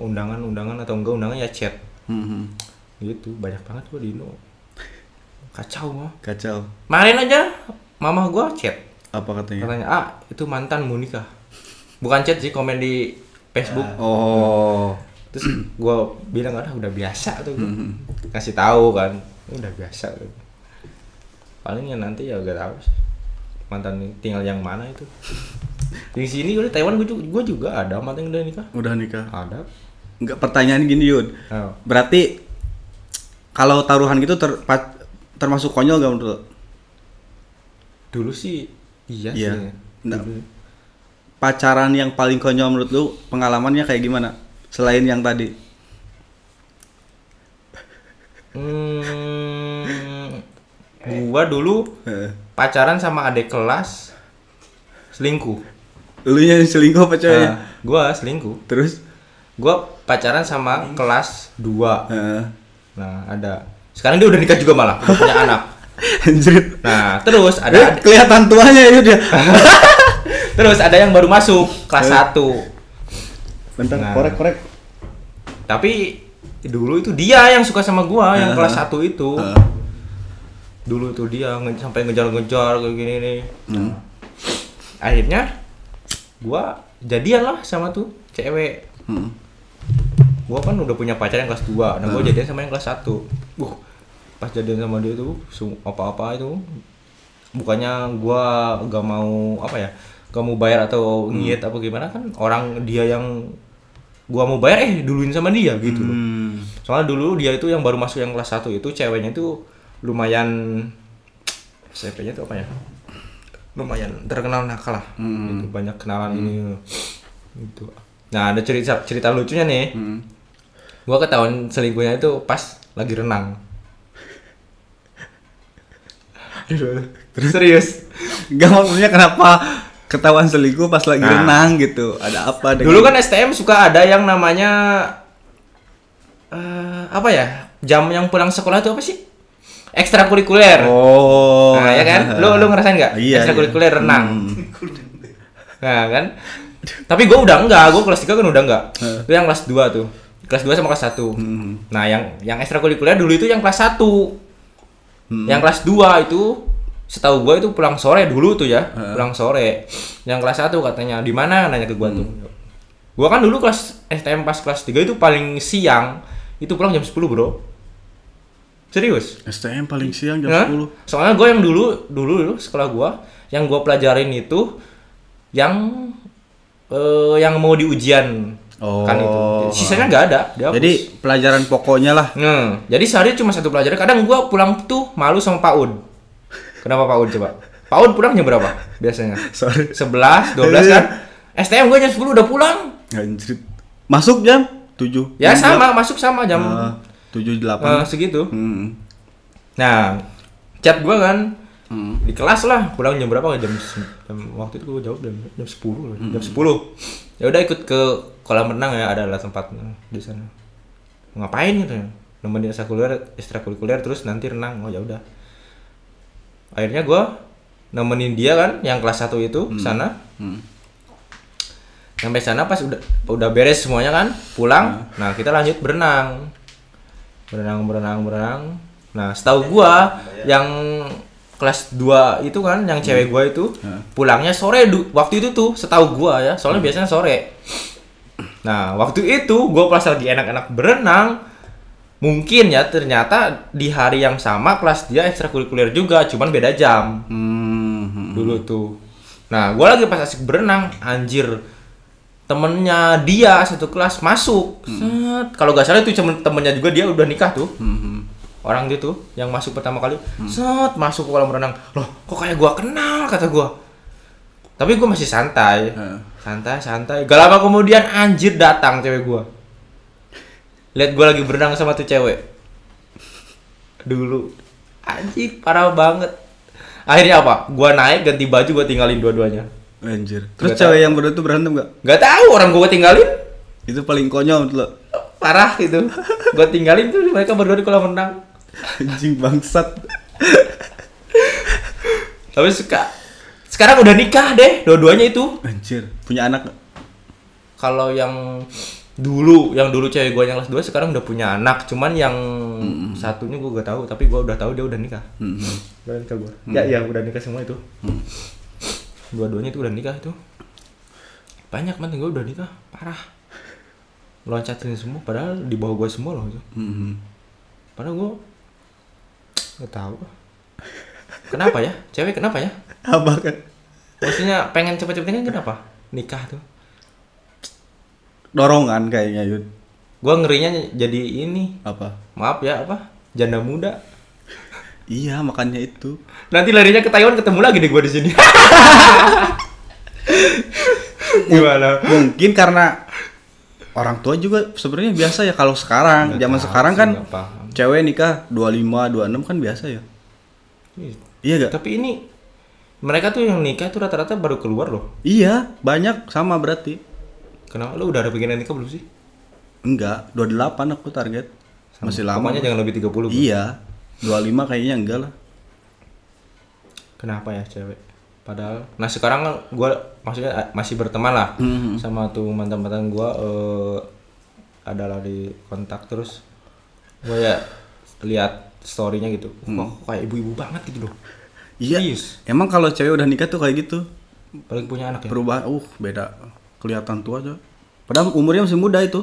Speaker 2: undangan undangan atau enggak undangan ya chat
Speaker 1: Hmm.
Speaker 2: gitu banyak banget gue di Indo kacau mah
Speaker 1: Kacau.
Speaker 2: kemarin aja mama gue chat
Speaker 1: Apa katanya?
Speaker 2: katanya ah itu mantan mau nikah bukan chat sih komen di Facebook
Speaker 1: Ah. Oh.
Speaker 2: terus gue bilang ah udah biasa tuh
Speaker 1: Hmm,
Speaker 2: kasih tahu kan udah biasa tuh palingnya nanti ya gak tahu sih mantan tinggal yang mana itu di sini udah Taiwan gue juga, gua juga ada mantan yang udah nikah
Speaker 1: Udah nikah.
Speaker 2: ada
Speaker 1: Enggak pertanyaan gini, Yun.
Speaker 2: oh.
Speaker 1: Berarti kalau taruhan gitu ter- pa- termasuk konyol gak menurut lo?
Speaker 2: dulu sih iya,
Speaker 1: Iya.
Speaker 2: sih
Speaker 1: Nah.
Speaker 2: Dulu.
Speaker 1: Pacaran yang paling konyol menurut lu pengalamannya kayak gimana? Selain yang tadi.
Speaker 2: hmm, gua dulu
Speaker 1: Heeh.
Speaker 2: pacaran sama adik kelas selingkuh
Speaker 1: Elunya yang selingkuh apa ceweknya?
Speaker 2: Nah, gua selingkuh.
Speaker 1: Terus
Speaker 2: Gua pacaran sama kelas 2.
Speaker 1: Heeh.
Speaker 2: Nah, ada. Sekarang dia udah nikah juga malah, udah punya anak.
Speaker 1: anjir.
Speaker 2: Nah, terus ada
Speaker 1: Eh, kelihatan tuanya ya. itu dia.
Speaker 2: terus ada yang baru masuk kelas 1.
Speaker 1: Bentar,
Speaker 2: Nah.
Speaker 1: korek-korek.
Speaker 2: Tapi dulu itu dia yang suka sama gua yang kelas 1 itu.
Speaker 1: Heeh.
Speaker 2: Dulu itu dia nge- sampai ngejar-ngejar kayak gini nih.
Speaker 1: Hmm.
Speaker 2: Akhirnya gua jadian lah sama tuh cewek.
Speaker 1: Hmm.
Speaker 2: gua kan udah punya pacar yang kelas 2 nah gua jadian sama yang kelas 1 uh pas jadian sama dia tuh sung- apa-apa itu bukannya gua gak mau apa ya gak mau bayar atau ngiyet apa gimana kan orang dia yang gua mau bayar eh duluin sama dia gitu loh
Speaker 1: Hmm.
Speaker 2: soalnya dulu dia itu yang baru masuk yang kelas 1 itu ceweknya itu lumayan CP-nya itu apa ya lumayan terkenal nakal lah Gitu, banyak kenalan ini gitu nah ada cerita cerita lucunya nih
Speaker 1: Hmm.
Speaker 2: gua ketahuan selingkuhnya itu pas lagi renang Aduh, serius
Speaker 1: Gak maksudnya kenapa ketahuan selingkuh pas lagi renang gitu. Ada apa dengan
Speaker 2: Nah. dulu kan STM suka ada yang namanya eh, apa ya jam yang pulang sekolah itu apa sih ekstrakurikuler
Speaker 1: Oh.
Speaker 2: nah, ya kan? ya Lu lu ngerasain nggak?
Speaker 1: Ah, Iya,
Speaker 2: Ekstrakurikuler
Speaker 1: iya.
Speaker 2: renang. Nah, kan? Tapi gue udah enggak, gue kelas 3 kan udah enggak. Itu yang kelas 2 tuh. Kelas 2 sama kelas 1.
Speaker 1: Hmm.
Speaker 2: Nah, yang yang ekstrakurikuler dulu itu yang kelas 1.
Speaker 1: Hmm.
Speaker 2: Yang kelas 2 itu setahu gue itu pulang sore dulu tuh ya, pulang sore. Yang kelas 1 katanya di mana nanya ke gue tuh.
Speaker 1: Hmm.
Speaker 2: Gue kan dulu kelas STM pas kelas 3 itu paling siang, itu pulang jam 10, Bro. Serius?
Speaker 1: STM paling siang jam
Speaker 2: Hah?
Speaker 1: 10.
Speaker 2: Soalnya gue yang dulu, dulu dulu sekolah gue, yang gue pelajarin itu yang eh, yang mau di ujian
Speaker 1: Oh.
Speaker 2: kan itu. Sisanya nggak ada. dihapus.
Speaker 1: Jadi pelajaran pokoknya lah.
Speaker 2: Hmm, jadi sehari cuma satu pelajaran. Kadang gue pulang tuh malu sama Paud. Kenapa Paud coba? Paud pulang jam berapa biasanya?
Speaker 1: Sorry.
Speaker 2: 11, 12 kan?
Speaker 1: Iya.
Speaker 2: STM gue jam 10 udah pulang.
Speaker 1: Anjir. Masuk jam 7.
Speaker 2: Ya sama, masuk sama jam
Speaker 1: Ah, tujuh
Speaker 2: eh,
Speaker 1: delapan.
Speaker 2: segitu.
Speaker 1: Hmm.
Speaker 2: Nah, chat gua kan
Speaker 1: Hmm.
Speaker 2: di kelas lah, pulang jam berapa? Jam, se- jam waktu itu gua jawab jam jam 10 lah,
Speaker 1: Hmm.
Speaker 2: jam 10. Ya udah ikut ke kolam renang ya, ada lah tempat di sana. Mau Ngapain gitu ya? Nemenin ekstrakurikuler, ekstrakurikuler terus nanti renang. Oh ya udah. Akhirnya gua nemenin dia kan yang kelas 1 itu ke sana.
Speaker 1: Hmm.
Speaker 2: Sampai sana pas udah udah beres semuanya kan, pulang. Nah, kita lanjut berenang. Berenang, berenang, berenang. Nah, setahu gua yang kelas 2 itu kan yang cewek gua itu pulangnya sore du- waktu itu tuh, setahu gua ya. Soalnya biasanya sore. Nah, waktu itu gua pas lagi enak-enak berenang, mungkin ya ternyata di hari yang sama kelas dia ekstrakurikuler juga, cuman beda jam
Speaker 1: Hmm. hmm.
Speaker 2: dulu tuh. Nah, gua lagi pas asik berenang, anjir temennya dia satu kelas masuk. Set. Kalau gak salah itu temen temennya juga dia udah nikah tuh.
Speaker 1: Hmm.
Speaker 2: Orang dia tuh yang masuk pertama kali, set masuk ke kolam renang. Loh, kok kayak gua kenal kata gua. Tapi gua masih santai.
Speaker 1: Heeh.
Speaker 2: Santai, santai. Gak lama kemudian anjir datang cewek gua. Lihat gua lagi berenang sama tuh cewek dulu anjing parah banget akhirnya apa gua naik ganti baju gua tinggalin dua-duanya
Speaker 1: Anjir. Terus
Speaker 2: Gak
Speaker 1: cewek yang berdua tuh berantem gak?
Speaker 2: nggak tahu orang gua tinggalin
Speaker 1: Itu paling konyol tuh lo.
Speaker 2: parah gitu gua tinggalin tuh mereka berdua di kolam renang
Speaker 1: Anjing bangsat.
Speaker 2: tapi suka sekarang udah nikah deh dua-duanya itu
Speaker 1: Anjir. Punya anak nggak?
Speaker 2: kalau yang dulu yang dulu cewek gua yang kelas 2 sekarang udah punya anak cuman yang satunya gua gak tahu tapi gua udah tahu dia udah nikah
Speaker 1: Hmm.
Speaker 2: udah nikah gua ya ya udah nikah semua itu dua-duanya itu udah nikah itu banyak mantan gua udah nikah parah loncatin semua padahal di bawah gua semua loh itu
Speaker 1: Hmm.
Speaker 2: padahal gua nggak tahu kenapa ya cewek kenapa ya
Speaker 1: Apa kan?
Speaker 2: maksudnya pengen cepet-cepet kan kenapa nikah tuh
Speaker 1: Dorongan kayaknya Yud.
Speaker 2: gua ngerinya jadi ini
Speaker 1: Apa?
Speaker 2: maaf ya apa janda muda
Speaker 1: Iya makanya itu.
Speaker 2: nanti larinya ke Taiwan ketemu lagi deh gua di sini gimana
Speaker 1: Mungkin karena orang tua juga sebenarnya biasa ya kalau sekarang zaman sekarang kan
Speaker 2: Nggak paham.
Speaker 1: cewek nikah 25 26 kan biasa ya. Iya gak?
Speaker 2: Tapi ini mereka tuh yang nikah tuh rata-rata baru keluar loh.
Speaker 1: Iya, banyak sama berarti.
Speaker 2: Kenapa lu udah ada pikiran nikah belum sih?
Speaker 1: Enggak, 28 aku target. Masih lama.
Speaker 2: Pokoknya jangan lebih 30. Bro.
Speaker 1: Iya, 25 kayaknya enggak lah.
Speaker 2: Kenapa ya cewek? Padahal nah sekarang kan gua maksudnya eh, masih berteman lah sama tuh mantan-mantan gua eh, adalah di kontak terus gua ya lihat storynya gitu. Wah, kok kayak ibu-ibu banget gitu loh.
Speaker 1: Iya.
Speaker 2: Serius.
Speaker 1: Emang kalau cewek udah nikah tuh kayak gitu.
Speaker 2: Paling punya anak ya.
Speaker 1: Perubahan uh beda. Kelihatan tua aja. Padahal umurnya masih muda itu.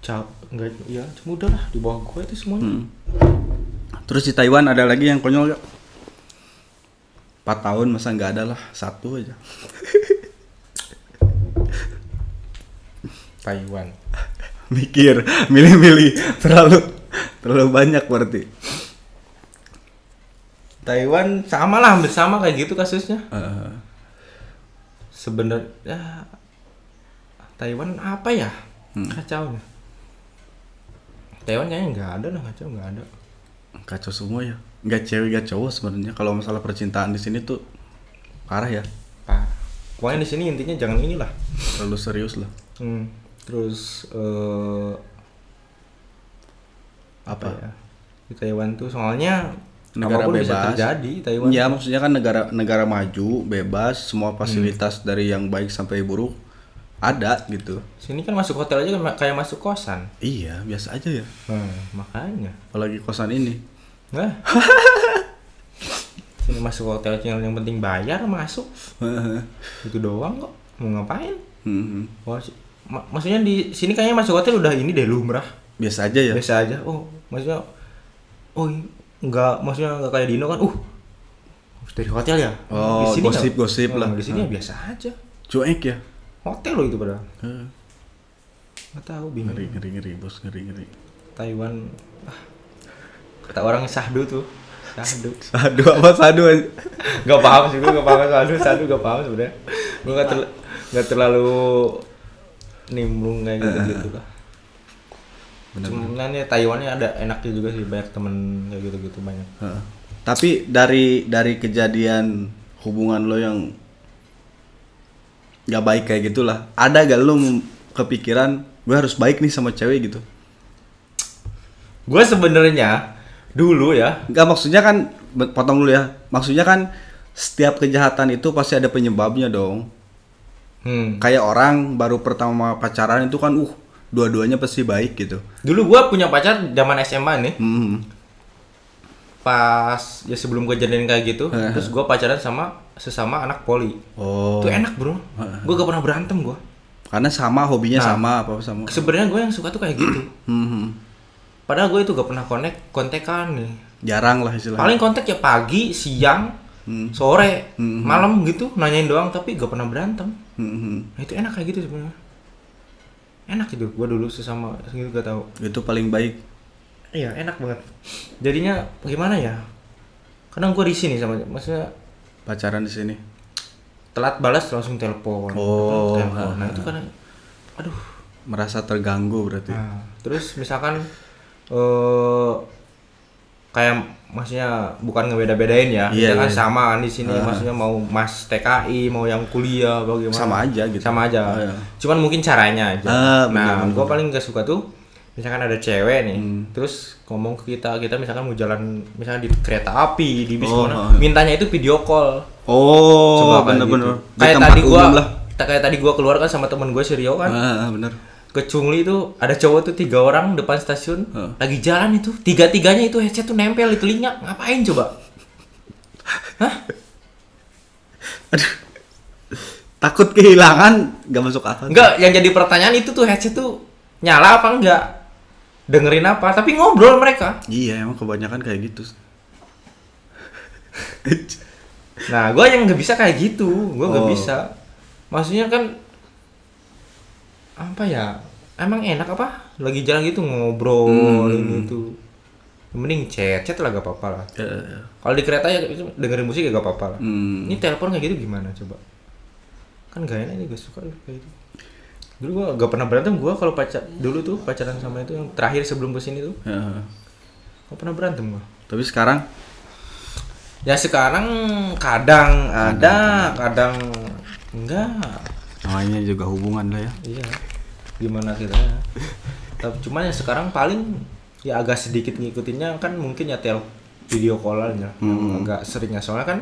Speaker 2: Cap enggak ya cuma udah lah di bawah gua itu semuanya.
Speaker 1: Terus di Taiwan ada lagi yang konyol gak? 4 tahun masa nggak ada lah, satu aja.
Speaker 2: Taiwan.
Speaker 1: Mikir, milih-milih terlalu terlalu banyak berarti.
Speaker 2: Taiwan sama lah hampir sama kayak gitu kasusnya.
Speaker 1: Eh,
Speaker 2: sebenarnya ya, Taiwan apa ya
Speaker 1: Hmm.
Speaker 2: kacau nih. Taiwan kayaknya nggak ada lah kacau nggak ada
Speaker 1: kacau semua ya. Nggak cewek, nggak cowok sebenarnya kalau masalah percintaan di sini tuh parah ya.
Speaker 2: pak pokoknya di sini intinya jangan inilah
Speaker 1: Terlalu serius lah.
Speaker 2: hmm. terus eh, apa
Speaker 1: Apa?
Speaker 2: ya di Taiwan tuh soalnya
Speaker 1: Negara
Speaker 2: apapun bisa
Speaker 1: bebas.
Speaker 2: terjadi Taiwan
Speaker 1: Ya maksudnya kan negara negara maju, bebas, semua fasilitas dari yang baik sampai buruk ada gitu
Speaker 2: Sini kan masuk hotel aja kayak- kayak masuk kosan. Hmm,
Speaker 1: iya biasa aja ya
Speaker 2: makanya.
Speaker 1: apalagi kosan ini
Speaker 2: Nah. Sini masuk hotel aja yang penting bayar masuk. Itu doang kok. Mau ngapain?
Speaker 1: Hmm,
Speaker 2: Wah, Oh, si- ma- maksudnya di sini kayaknya masuk hotel udah ini deh lumrah.
Speaker 1: biasa aja ya
Speaker 2: Biasa aja. Oh, maksudnya oh i- nggak maksudnya nggak kayak Dino kan. Uh. harus Dari hotel ya?
Speaker 1: Oh,
Speaker 2: Di sini nggak-
Speaker 1: gosip-gosip lah.
Speaker 2: Di sini ya
Speaker 1: Ah.
Speaker 2: biasa aja.
Speaker 1: cuek ya
Speaker 2: Hotel loh itu padahal.
Speaker 1: Heeh.
Speaker 2: Nggak tahu bingung.
Speaker 1: ngeri ngeri ngeri bos ngeri ngeri
Speaker 2: Taiwan ah, kata orang sahdu tuh sahdu
Speaker 1: sadu apa sadu anj-
Speaker 2: gak paham sih gue gak paham sahdu sahdu gak paham sebenarnya gue gak, terl- gak terlalu nimbrung kayak gitu gitu lah sebenarnya Taiwannya ada enaknya juga sih banyak temen kayak gitu gitu banyak
Speaker 1: Heeh. tapi dari dari kejadian hubungan lo yang nggak baik kayak gitulah ada gak lo mem- kepikiran gue harus baik nih sama cewek gitu
Speaker 2: gue sebenarnya dulu ya
Speaker 1: Enggak maksudnya kan be- potong dulu ya. Maksudnya kan setiap kejahatan itu pasti ada penyebabnya dong.
Speaker 2: hmm.
Speaker 1: Kayak orang baru pertama pacaran itu kan uh dua-duanya pasti baik gitu.
Speaker 2: dulu gue punya pacar zaman SMA nih
Speaker 1: Hmm.
Speaker 2: pas ya sebelum kejadian kayak gitu terus gue pacaran sama sesama anak poli
Speaker 1: Oh.
Speaker 2: itu enak bro gue gak pernah berantem gue
Speaker 1: Karena sama hobinya
Speaker 2: Nah.
Speaker 1: sama apa sama.
Speaker 2: sebenarnya gue yang suka tuh kayak gitu
Speaker 1: Hmm.
Speaker 2: padahal gue itu gak pernah connect kontekan nih
Speaker 1: Jarang lah istilahnya.
Speaker 2: paling kontak ya pagi siang
Speaker 1: Hmm.
Speaker 2: sore
Speaker 1: Hmm.
Speaker 2: malam gitu nanyain doang tapi gak pernah berantem
Speaker 1: Hmm.
Speaker 2: nah itu enak kayak gitu sebenarnya enak itu gue dulu sesama segitu gak tahu
Speaker 1: Itu paling baik.
Speaker 2: iya enak banget jadinya gimana ya kadang gue di sini sama maksudnya
Speaker 1: Pacaran di sini.
Speaker 2: telat balas langsung telepon
Speaker 1: Oh,
Speaker 2: telepon. nah itu kan aduh
Speaker 1: Merasa terganggu berarti.
Speaker 2: Nah, terus misalkan eh kayak maksudnya bukan ngebeda-bedain ya.
Speaker 1: Iya,
Speaker 2: Jangan
Speaker 1: iya.
Speaker 2: sama di sini maksudnya mau Mas TKI, mau yang kuliah bagaimana.
Speaker 1: Sama aja gitu.
Speaker 2: Sama aja.
Speaker 1: Oh, iya.
Speaker 2: Cuman mungkin caranya aja.
Speaker 1: Ah, benar,
Speaker 2: nah,
Speaker 1: benar. Hmm.
Speaker 2: gua paling gak suka tuh misalkan ada cewek nih, terus ngomong ke kita, kita misalkan mau jalan misalnya di kereta api, di bis
Speaker 1: Oh, oh,
Speaker 2: mana,
Speaker 1: iya.
Speaker 2: mintanya itu video call.
Speaker 1: Oh,
Speaker 2: Coba kayak
Speaker 1: bener-bener.
Speaker 2: gitu.
Speaker 1: Di
Speaker 2: Kayak
Speaker 1: tempat
Speaker 2: tadi gua
Speaker 1: umum lah.
Speaker 2: kayak tadi gua keluar kan sama temen gue si Rio kan
Speaker 1: Ah, ah, bener.
Speaker 2: ke Cungli itu ada cowok tuh tiga orang depan stasiun
Speaker 1: Heeh.
Speaker 2: lagi jalan itu tiga tiganya itu headset tuh nempel di telinga ngapain coba
Speaker 1: Aduh. Takut kehilangan gak masuk akal.
Speaker 2: enggak yang jadi pertanyaan itu tuh headset tuh nyala apa enggak dengerin apa tapi ngobrol mereka
Speaker 1: Iya emang kebanyakan kayak gitu. Eh,
Speaker 2: nah gue yang nggak bisa kayak gitu gue nggak
Speaker 1: Oh.
Speaker 2: bisa maksudnya kan apa ya emang enak apa lagi jalan gitu
Speaker 1: Hmm.
Speaker 2: ngobrol ini tuh mending chat chat lah gak apa-apa lah
Speaker 1: Eh,
Speaker 2: kalau di kereta ya dengerin musik ya gak apa-apa lah
Speaker 1: hmm.
Speaker 2: Ini telepon kayak gitu gimana coba? Kan gak enak nih gue suka kayak gitu. Dulu gua gak pernah berantem gua kalau pacar dulu tuh pacaran sama itu yang terakhir sebelum kesini tuh
Speaker 1: Eh,
Speaker 2: gak pernah berantem gua.
Speaker 1: Tapi sekarang
Speaker 2: Ya sekarang kadang ada, kadang enggak.
Speaker 1: namanya juga hubungan lah ya.
Speaker 2: Iya. Gimana kita? Tapi cuman ya sekarang paling ya agak sedikit ngikutinnya kan mungkin ya tel video callan ya.
Speaker 1: Hmm.
Speaker 2: Agak seringnya soalnya kan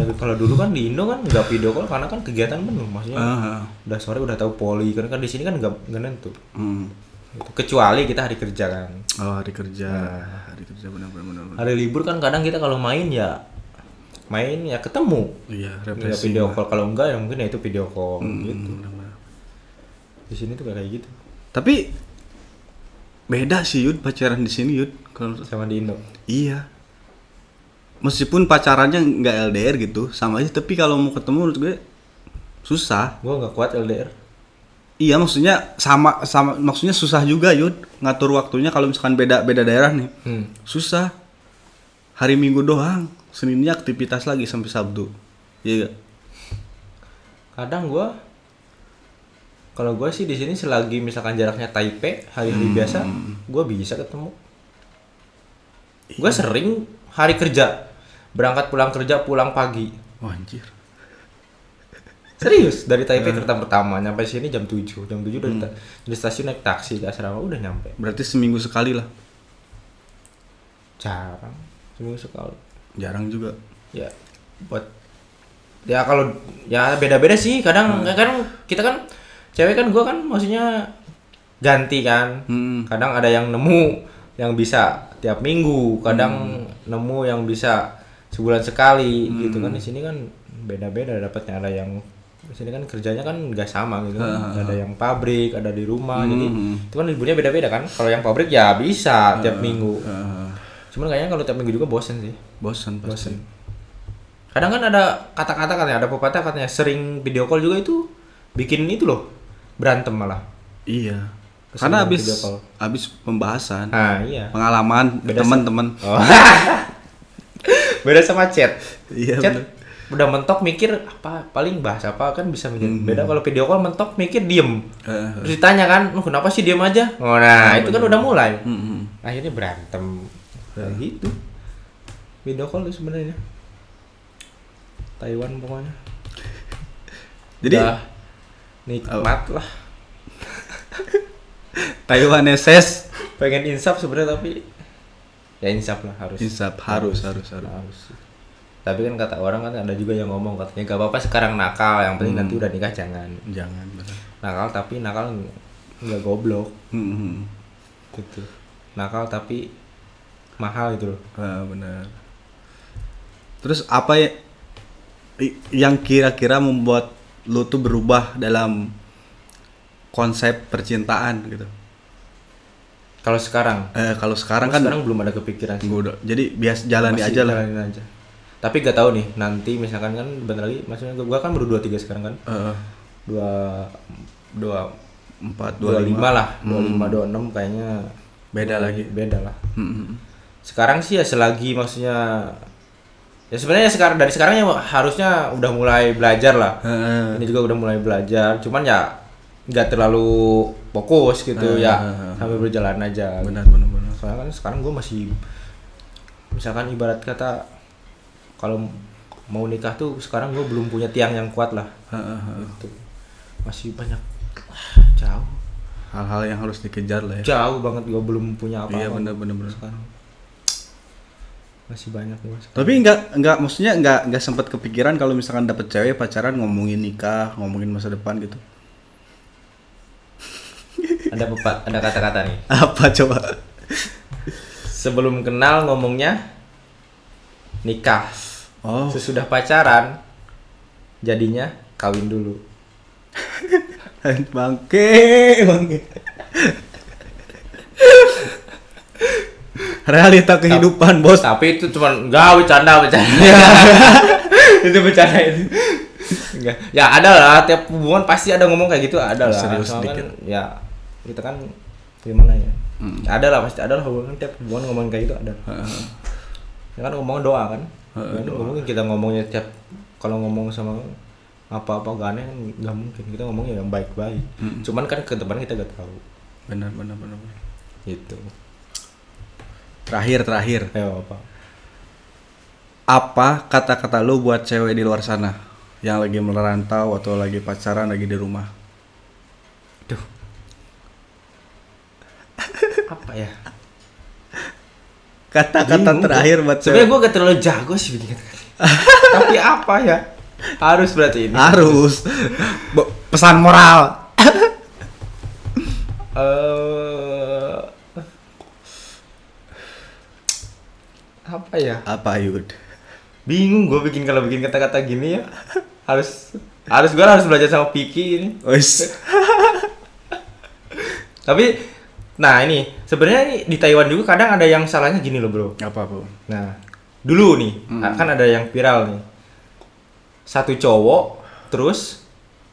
Speaker 2: eh, kalau dulu kan di Indo kan nggak video call karena kan kegiatan penuh maksudnya.
Speaker 1: Heeh.
Speaker 2: udah sore udah tahu poli kan kan di sini kan nggak nggak nentu
Speaker 1: Hmm.
Speaker 2: Gitu. kecuali kita hari kerja kan
Speaker 1: Oh hari kerja, hari kerja benar-benar.
Speaker 2: hari libur kan kadang kita kalau main ya main ya ketemu
Speaker 1: Iya
Speaker 2: nggak
Speaker 1: refreshing.
Speaker 2: video call kalau enggak ya mungkin ya itu video call gitu
Speaker 1: Hmm, benar-benar.
Speaker 2: di sini tuh nggak kayak gitu
Speaker 1: Tapi beda sih Yud pacaran di sini Yud. Kalau
Speaker 2: sama di Indo
Speaker 1: iya. Meskipun pacarannya nggak LDR gitu, sama aja. Tapi kalau mau ketemu menurut gue susah.
Speaker 2: gua nggak kuat LDR
Speaker 1: Iya maksudnya sama sama maksudnya susah juga Yud ngatur waktunya kalau misalkan beda beda daerah nih.
Speaker 2: hmm.
Speaker 1: Susah. Hari Minggu doang. Seninnya aktivitas lagi sampai Sabtu. Iya. nggak?
Speaker 2: kadang gua kalau gua sih di sini selagi misalkan jaraknya Taipei hari-hari biasa gua bisa ketemu gua sering hari kerja berangkat pulang kerja pulang pagi
Speaker 1: Wah anjir.
Speaker 2: Serius dari Taipei kereta pertama nyampe sini jam 7. Jam 7 dari, ta- dari stasiun naik taksi ke asrama udah nyampe.
Speaker 1: Berarti seminggu sekali lah.
Speaker 2: Jarang seminggu sekali.
Speaker 1: Jarang juga.
Speaker 2: Ya buat ya kalau ya beda-beda sih kadang kan kita kan cewek kan gua kan maksudnya ganti kan
Speaker 1: Hmm.
Speaker 2: kadang ada yang nemu yang bisa tiap minggu kadang nemu yang bisa sebulan sekali gitu kan di sini kan beda-beda dapatnya ada yang di sini kan kerjanya kan nggak sama gitu kan. ada yang pabrik ada di rumah jadi itu kan liburnya beda-beda kan kalau yang pabrik ya bisa tiap minggu
Speaker 1: Eh,
Speaker 2: cuman kayaknya kalau tiap minggu juga bosen sih
Speaker 1: bosan pasti.
Speaker 2: bosen kadang kan ada kata-kata katanya ada pepatah katanya sering video call juga itu bikin itu loh berantem malah
Speaker 1: Iya.
Speaker 2: Kesini
Speaker 1: Karena habis
Speaker 2: video call.
Speaker 1: habis pembahasan,
Speaker 2: nah iya
Speaker 1: pengalaman teman-teman.
Speaker 2: Oh. beda sama chat.
Speaker 1: Iya,
Speaker 2: chat
Speaker 1: bener.
Speaker 2: udah mentok mikir apa paling bahas apa kan bisa menjadi
Speaker 1: Hmm.
Speaker 2: beda kalau video call mentok mikir diem
Speaker 1: Eh,
Speaker 2: terus ditanya kan lu kenapa sih diem aja oh, nah itu kan udah mulai
Speaker 1: mm, mm.
Speaker 2: akhirnya berantem ya gitu video call tuh sebenarnya Taiwan pokoknya
Speaker 1: Jadi
Speaker 2: Udah nikmat lah
Speaker 1: Taiwan SS
Speaker 2: pengen insaf sebenarnya tapi ya insaf lah harus
Speaker 1: insap harus harus harus.
Speaker 2: Harus. Tapi kan kata orang kan ada juga yang ngomong katanya gak apa-apa sekarang nakal, yang penting
Speaker 1: Hmm.
Speaker 2: nanti udah nikah jangan.
Speaker 1: Jangan. bener.
Speaker 2: Nakal tapi nakal nggak- nggak goblok
Speaker 1: Mm,
Speaker 2: hmm.
Speaker 1: mm.
Speaker 2: gitu. Nakal tapi mahal gitu loh.
Speaker 1: Ah, benar. Terus apa ya i- yang kira-kira membuat lu tuh berubah dalam konsep percintaan gitu?
Speaker 2: Kalau sekarang,
Speaker 1: Eh kalau sekarang kan
Speaker 2: sekarang belum ada kepikiran sih.
Speaker 1: gua udah- jadi bias jalani
Speaker 2: Masih
Speaker 1: aja lah.
Speaker 2: jalanin aja. Tapi gak tahu nih nanti misalkan kan bentar lagi maksudnya gua kan baru 23 sekarang kan.
Speaker 1: Eh,
Speaker 2: Dua dua
Speaker 1: empat dua
Speaker 2: dua
Speaker 1: lima.
Speaker 2: lima lah, Hmm. dua lima dua enam kayaknya
Speaker 1: Beda lagi.
Speaker 2: beda lah.
Speaker 1: Mm, mm.
Speaker 2: sekarang sih ya selagi maksudnya ya sebenarnya sekarang dari sekarang ya harusnya udah mulai belajar lah
Speaker 1: Eh,
Speaker 2: ini juga udah mulai belajar cuman ya nggak terlalu fokus
Speaker 1: Nah,
Speaker 2: gitu ya sambil berjalan aja
Speaker 1: benar benar benar.
Speaker 2: soalnya kan sekarang gue masih misalkan ibarat kata kalau mau nikah tuh sekarang gue belum punya tiang yang kuat lah
Speaker 1: Eh, eh, eh.
Speaker 2: gitu. masih banyak jauh
Speaker 1: hal-hal yang harus dikejar lah ya.
Speaker 2: jauh banget gue belum punya apa-apa gitu
Speaker 1: Iya benar benar benar.
Speaker 2: sekarang masih banyak gue sekarang.
Speaker 1: Tapi nggak nggak maksudnya nggak nggak sempat kepikiran kalau misalkan dapet cewek pacaran ngomongin nikah, ngomongin masa depan gitu.
Speaker 2: ada pepa- ada kata-kata nih
Speaker 1: Apa coba?
Speaker 2: sebelum kenal ngomongnya nikah
Speaker 1: Oh,
Speaker 2: sesudah pacaran jadinya kawin dulu
Speaker 1: bangke, bangke. Realita kehidupan, Bos.
Speaker 2: tapi itu cuma enggak bercanda bercanda itu bercanda itu Enggak. ya ada lah tiap hubungan pasti ada ngomong kayak gitu ada lah
Speaker 1: Serius
Speaker 2: Soalnya
Speaker 1: sedikit.
Speaker 2: kan, ya kita kan gimana ya ada lah pasti ada lah hubungan tiap hubungan ngomong kayak gitu ada
Speaker 1: Eh,
Speaker 2: ya kan ngomong doa kan
Speaker 1: Heeh,
Speaker 2: Ya, nggak mungkin kita ngomongnya tiap kalau ngomong sama apa-apa gak aneh kan nggak mungkin kita ngomongnya yang baik-baik cuman kan ke depan kita gak tahu
Speaker 1: Benar, benar, benar. benar.
Speaker 2: gitu
Speaker 1: Terakhir, terakhir.
Speaker 2: ayo apa
Speaker 1: Apa kata-kata lu buat cewek di luar sana yang lagi merantau atau lagi pacaran lagi di rumah?
Speaker 2: Duh. apa ya
Speaker 1: Kata-kata
Speaker 2: Bingung
Speaker 1: terakhir
Speaker 2: gua.
Speaker 1: buat
Speaker 2: sebenarnya
Speaker 1: cewek.
Speaker 2: gue gak terlalu jago sih bikin kata-kata. tapi apa ya harus berarti ini
Speaker 1: Harus. Bo- Pesan moral.
Speaker 2: eh apa ya
Speaker 1: Apa, Yud?
Speaker 2: bingung gue bikin kalau bikin kata-kata gini ya harus harus gue harus belajar sama Piki ini
Speaker 1: Wis.
Speaker 2: tapi nah ini sebenarnya nih, di Taiwan juga kadang ada yang salahnya gini loh bro
Speaker 1: Apa, Bu?
Speaker 2: nah dulu nih kan ada yang viral nih satu cowok terus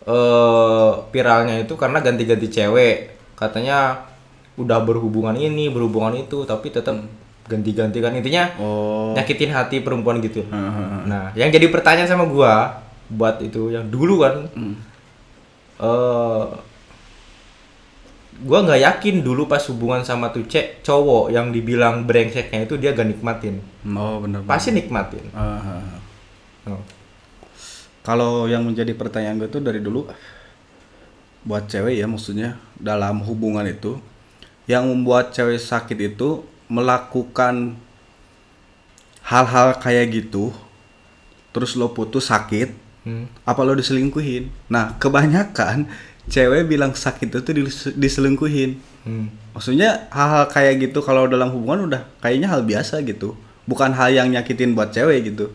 Speaker 2: eh viralnya itu karena ganti-ganti cewek katanya udah berhubungan ini berhubungan itu tapi tetap ganti-ganti kan intinya
Speaker 1: Oh. Hmm. uh-huh.
Speaker 2: nyakitin hati perempuan gitu
Speaker 1: Heeh.
Speaker 2: Nah, yang jadi pertanyaan sama gua buat itu yang dulu kan,
Speaker 1: Hmm.
Speaker 2: eh, gua nggak yakin dulu pas hubungan sama tuh cek cowok yang dibilang brengseknya itu dia gak nikmatin,
Speaker 1: Oh, benar. benar.
Speaker 2: pasti nikmatin.
Speaker 1: Ah.
Speaker 2: Oh.
Speaker 1: Kalau yang menjadi pertanyaan gue tuh dari dulu buat cewek ya maksudnya dalam hubungan itu yang membuat cewek sakit itu melakukan hal-hal kayak gitu terus lo putus sakit
Speaker 2: Hmm.
Speaker 1: apa lo diselingkuhin nah kebanyakan cewek bilang sakit itu tuh dis- diselingkuhin
Speaker 2: Hmm.
Speaker 1: maksudnya hal-hal kayak gitu kalau dalam hubungan udah kayaknya hal biasa gitu bukan hal yang nyakitin buat cewek gitu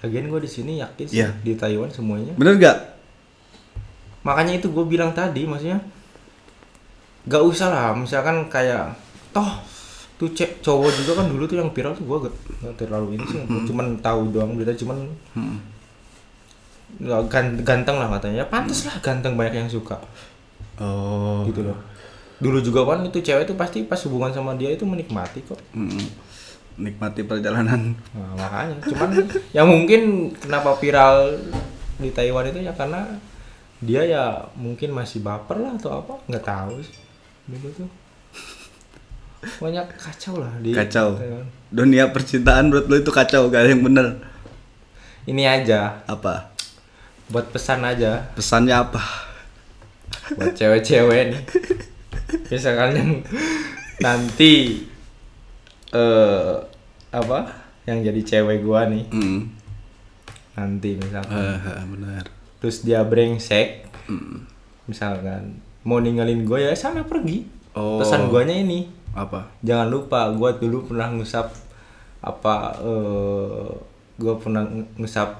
Speaker 2: Lagian gue di sini yakin sih
Speaker 1: Iya.
Speaker 2: di Taiwan semuanya.
Speaker 1: bener gak
Speaker 2: Makanya itu gue bilang tadi maksudnya gak usah lah misalkan kayak toh tuh cek cowok juga kan dulu tuh yang viral tuh gue gak, gak terlalu ini sih
Speaker 1: Hmm.
Speaker 2: gua cuman tahu doang berita cuman nggak gan- ganteng lah katanya pantas lah ganteng banyak yang suka
Speaker 1: oh
Speaker 2: gitu loh dulu juga kan itu cewek tuh pasti pas hubungan sama dia itu menikmati kok
Speaker 1: nikmati perjalanan
Speaker 2: Nah, makanya cuman yang mungkin kenapa viral di Taiwan itu ya karena dia ya mungkin masih baper lah atau apa nggak tahu sih dulu tuh banyak kacau lah di
Speaker 1: kacau
Speaker 2: Taiwan.
Speaker 1: dunia percintaan menurut lo itu kacau gak ada yang bener
Speaker 2: ini aja
Speaker 1: apa
Speaker 2: buat pesan aja
Speaker 1: pesannya apa
Speaker 2: buat cewek-cewek nih misalkan yang nanti eh apa yang jadi cewek gua nih
Speaker 1: Hmm.
Speaker 2: nanti misalkan
Speaker 1: Eh, eh, bener
Speaker 2: terus dia brengsek
Speaker 1: Mm.
Speaker 2: misalkan mau ninggalin gue ya sama pergi
Speaker 1: Oh.
Speaker 2: pesan guanya ini
Speaker 1: apa
Speaker 2: jangan lupa gue dulu pernah ngusap apa eh gue pernah ng- ngusap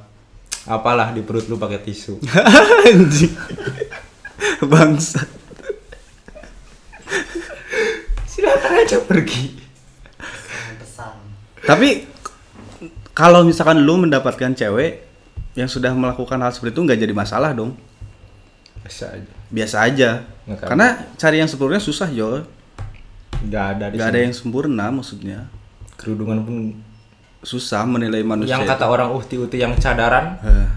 Speaker 2: apalah di perut lu pakai tisu
Speaker 1: anjing bangsa
Speaker 2: silakan aja pergi
Speaker 3: pesan
Speaker 1: tapi kalau misalkan lu mendapatkan cewek yang sudah melakukan hal seperti itu nggak jadi masalah dong
Speaker 2: biasa aja
Speaker 1: biasa aja
Speaker 2: Nggak
Speaker 1: karena cari yang sempurna susah jo
Speaker 2: nggak ada di
Speaker 1: nggak ada
Speaker 2: sini.
Speaker 1: yang sempurna maksudnya
Speaker 2: kerudungan pun
Speaker 1: susah menilai manusia
Speaker 2: yang kata orang uhti-uhti yang cadaran
Speaker 1: Eh,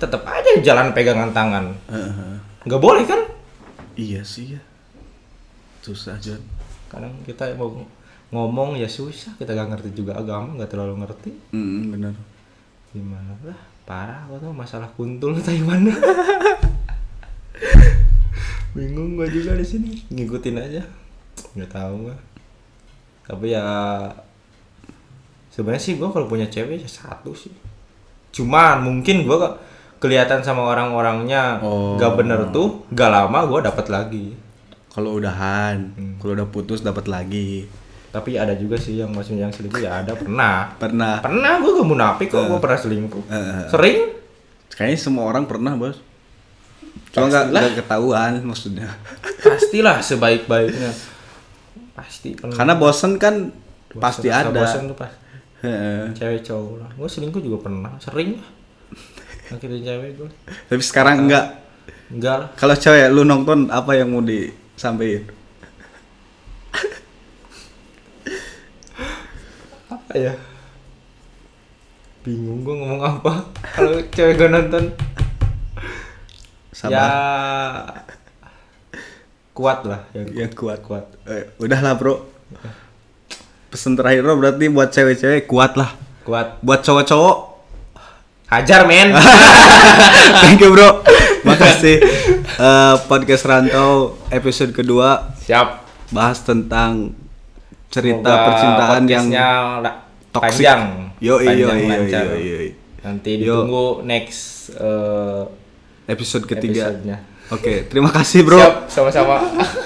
Speaker 2: tetap aja jalan pegangan tangan
Speaker 1: eh, eh.
Speaker 2: nggak boleh kan
Speaker 1: iya sih ya susah Jon
Speaker 2: kadang kita mau ngomong ya susah kita gak ngerti juga agama nggak terlalu ngerti
Speaker 1: Mm, bener
Speaker 2: gimana lah parah gua tuh masalah kuntul Taiwan bingung gua juga di sini ngikutin aja nggak tahu gua tapi ya sebenarnya sih gua kalau punya cewek ya satu sih cuman mungkin gua ke- kelihatan sama orang-orangnya
Speaker 1: Oh.
Speaker 2: gak bener tuh gak lama gua dapat lagi
Speaker 1: kalau udahan kalau udah putus dapat lagi
Speaker 2: tapi ada juga sih yang masih yang selingkuh ya ada pernah
Speaker 1: pernah
Speaker 2: pernah gua gak munafik kok gua pernah selingkuh
Speaker 1: Eh.
Speaker 2: sering
Speaker 1: kayaknya semua orang pernah bos cuma nggak nggak ketahuan maksudnya
Speaker 2: pastilah sebaik-baiknya pasti pernah.
Speaker 1: karena bosen kan pasti
Speaker 2: Rasa
Speaker 1: ada
Speaker 2: bosan tuh pas
Speaker 1: Heeh.
Speaker 2: cewek cowok lah gue selingkuh juga pernah sering lah akhirnya cewek gue
Speaker 1: tapi sekarang enggak
Speaker 2: enggak lah
Speaker 1: kalau cewek lu nonton apa yang mau disampaikan
Speaker 2: apa ya bingung gue ngomong apa kalau cewek gue nonton ya
Speaker 1: sabar
Speaker 2: kuat lah yang
Speaker 1: yang Ya, kuat
Speaker 2: kuat
Speaker 1: Eh, udahlah bro pesan terakhir lo berarti buat cewek-cewek kuat lah
Speaker 2: kuat
Speaker 1: buat cowok-cowok
Speaker 2: hajar men
Speaker 1: thank you bro makasih Eh, podcast rantau episode kedua
Speaker 2: siap
Speaker 1: bahas tentang cerita
Speaker 2: Semoga
Speaker 1: percintaan yang
Speaker 2: podcastnya la-
Speaker 1: toksik.
Speaker 2: panjang
Speaker 1: Yoi,
Speaker 2: panjang
Speaker 1: yoi, yoi,
Speaker 2: lancar.
Speaker 1: yoi, yoi.
Speaker 2: nanti
Speaker 1: Yo.
Speaker 2: ditunggu next eh,
Speaker 1: episode ketiga.
Speaker 2: episode-nya.
Speaker 1: Oke, terima kasih bro.
Speaker 2: siap sama-sama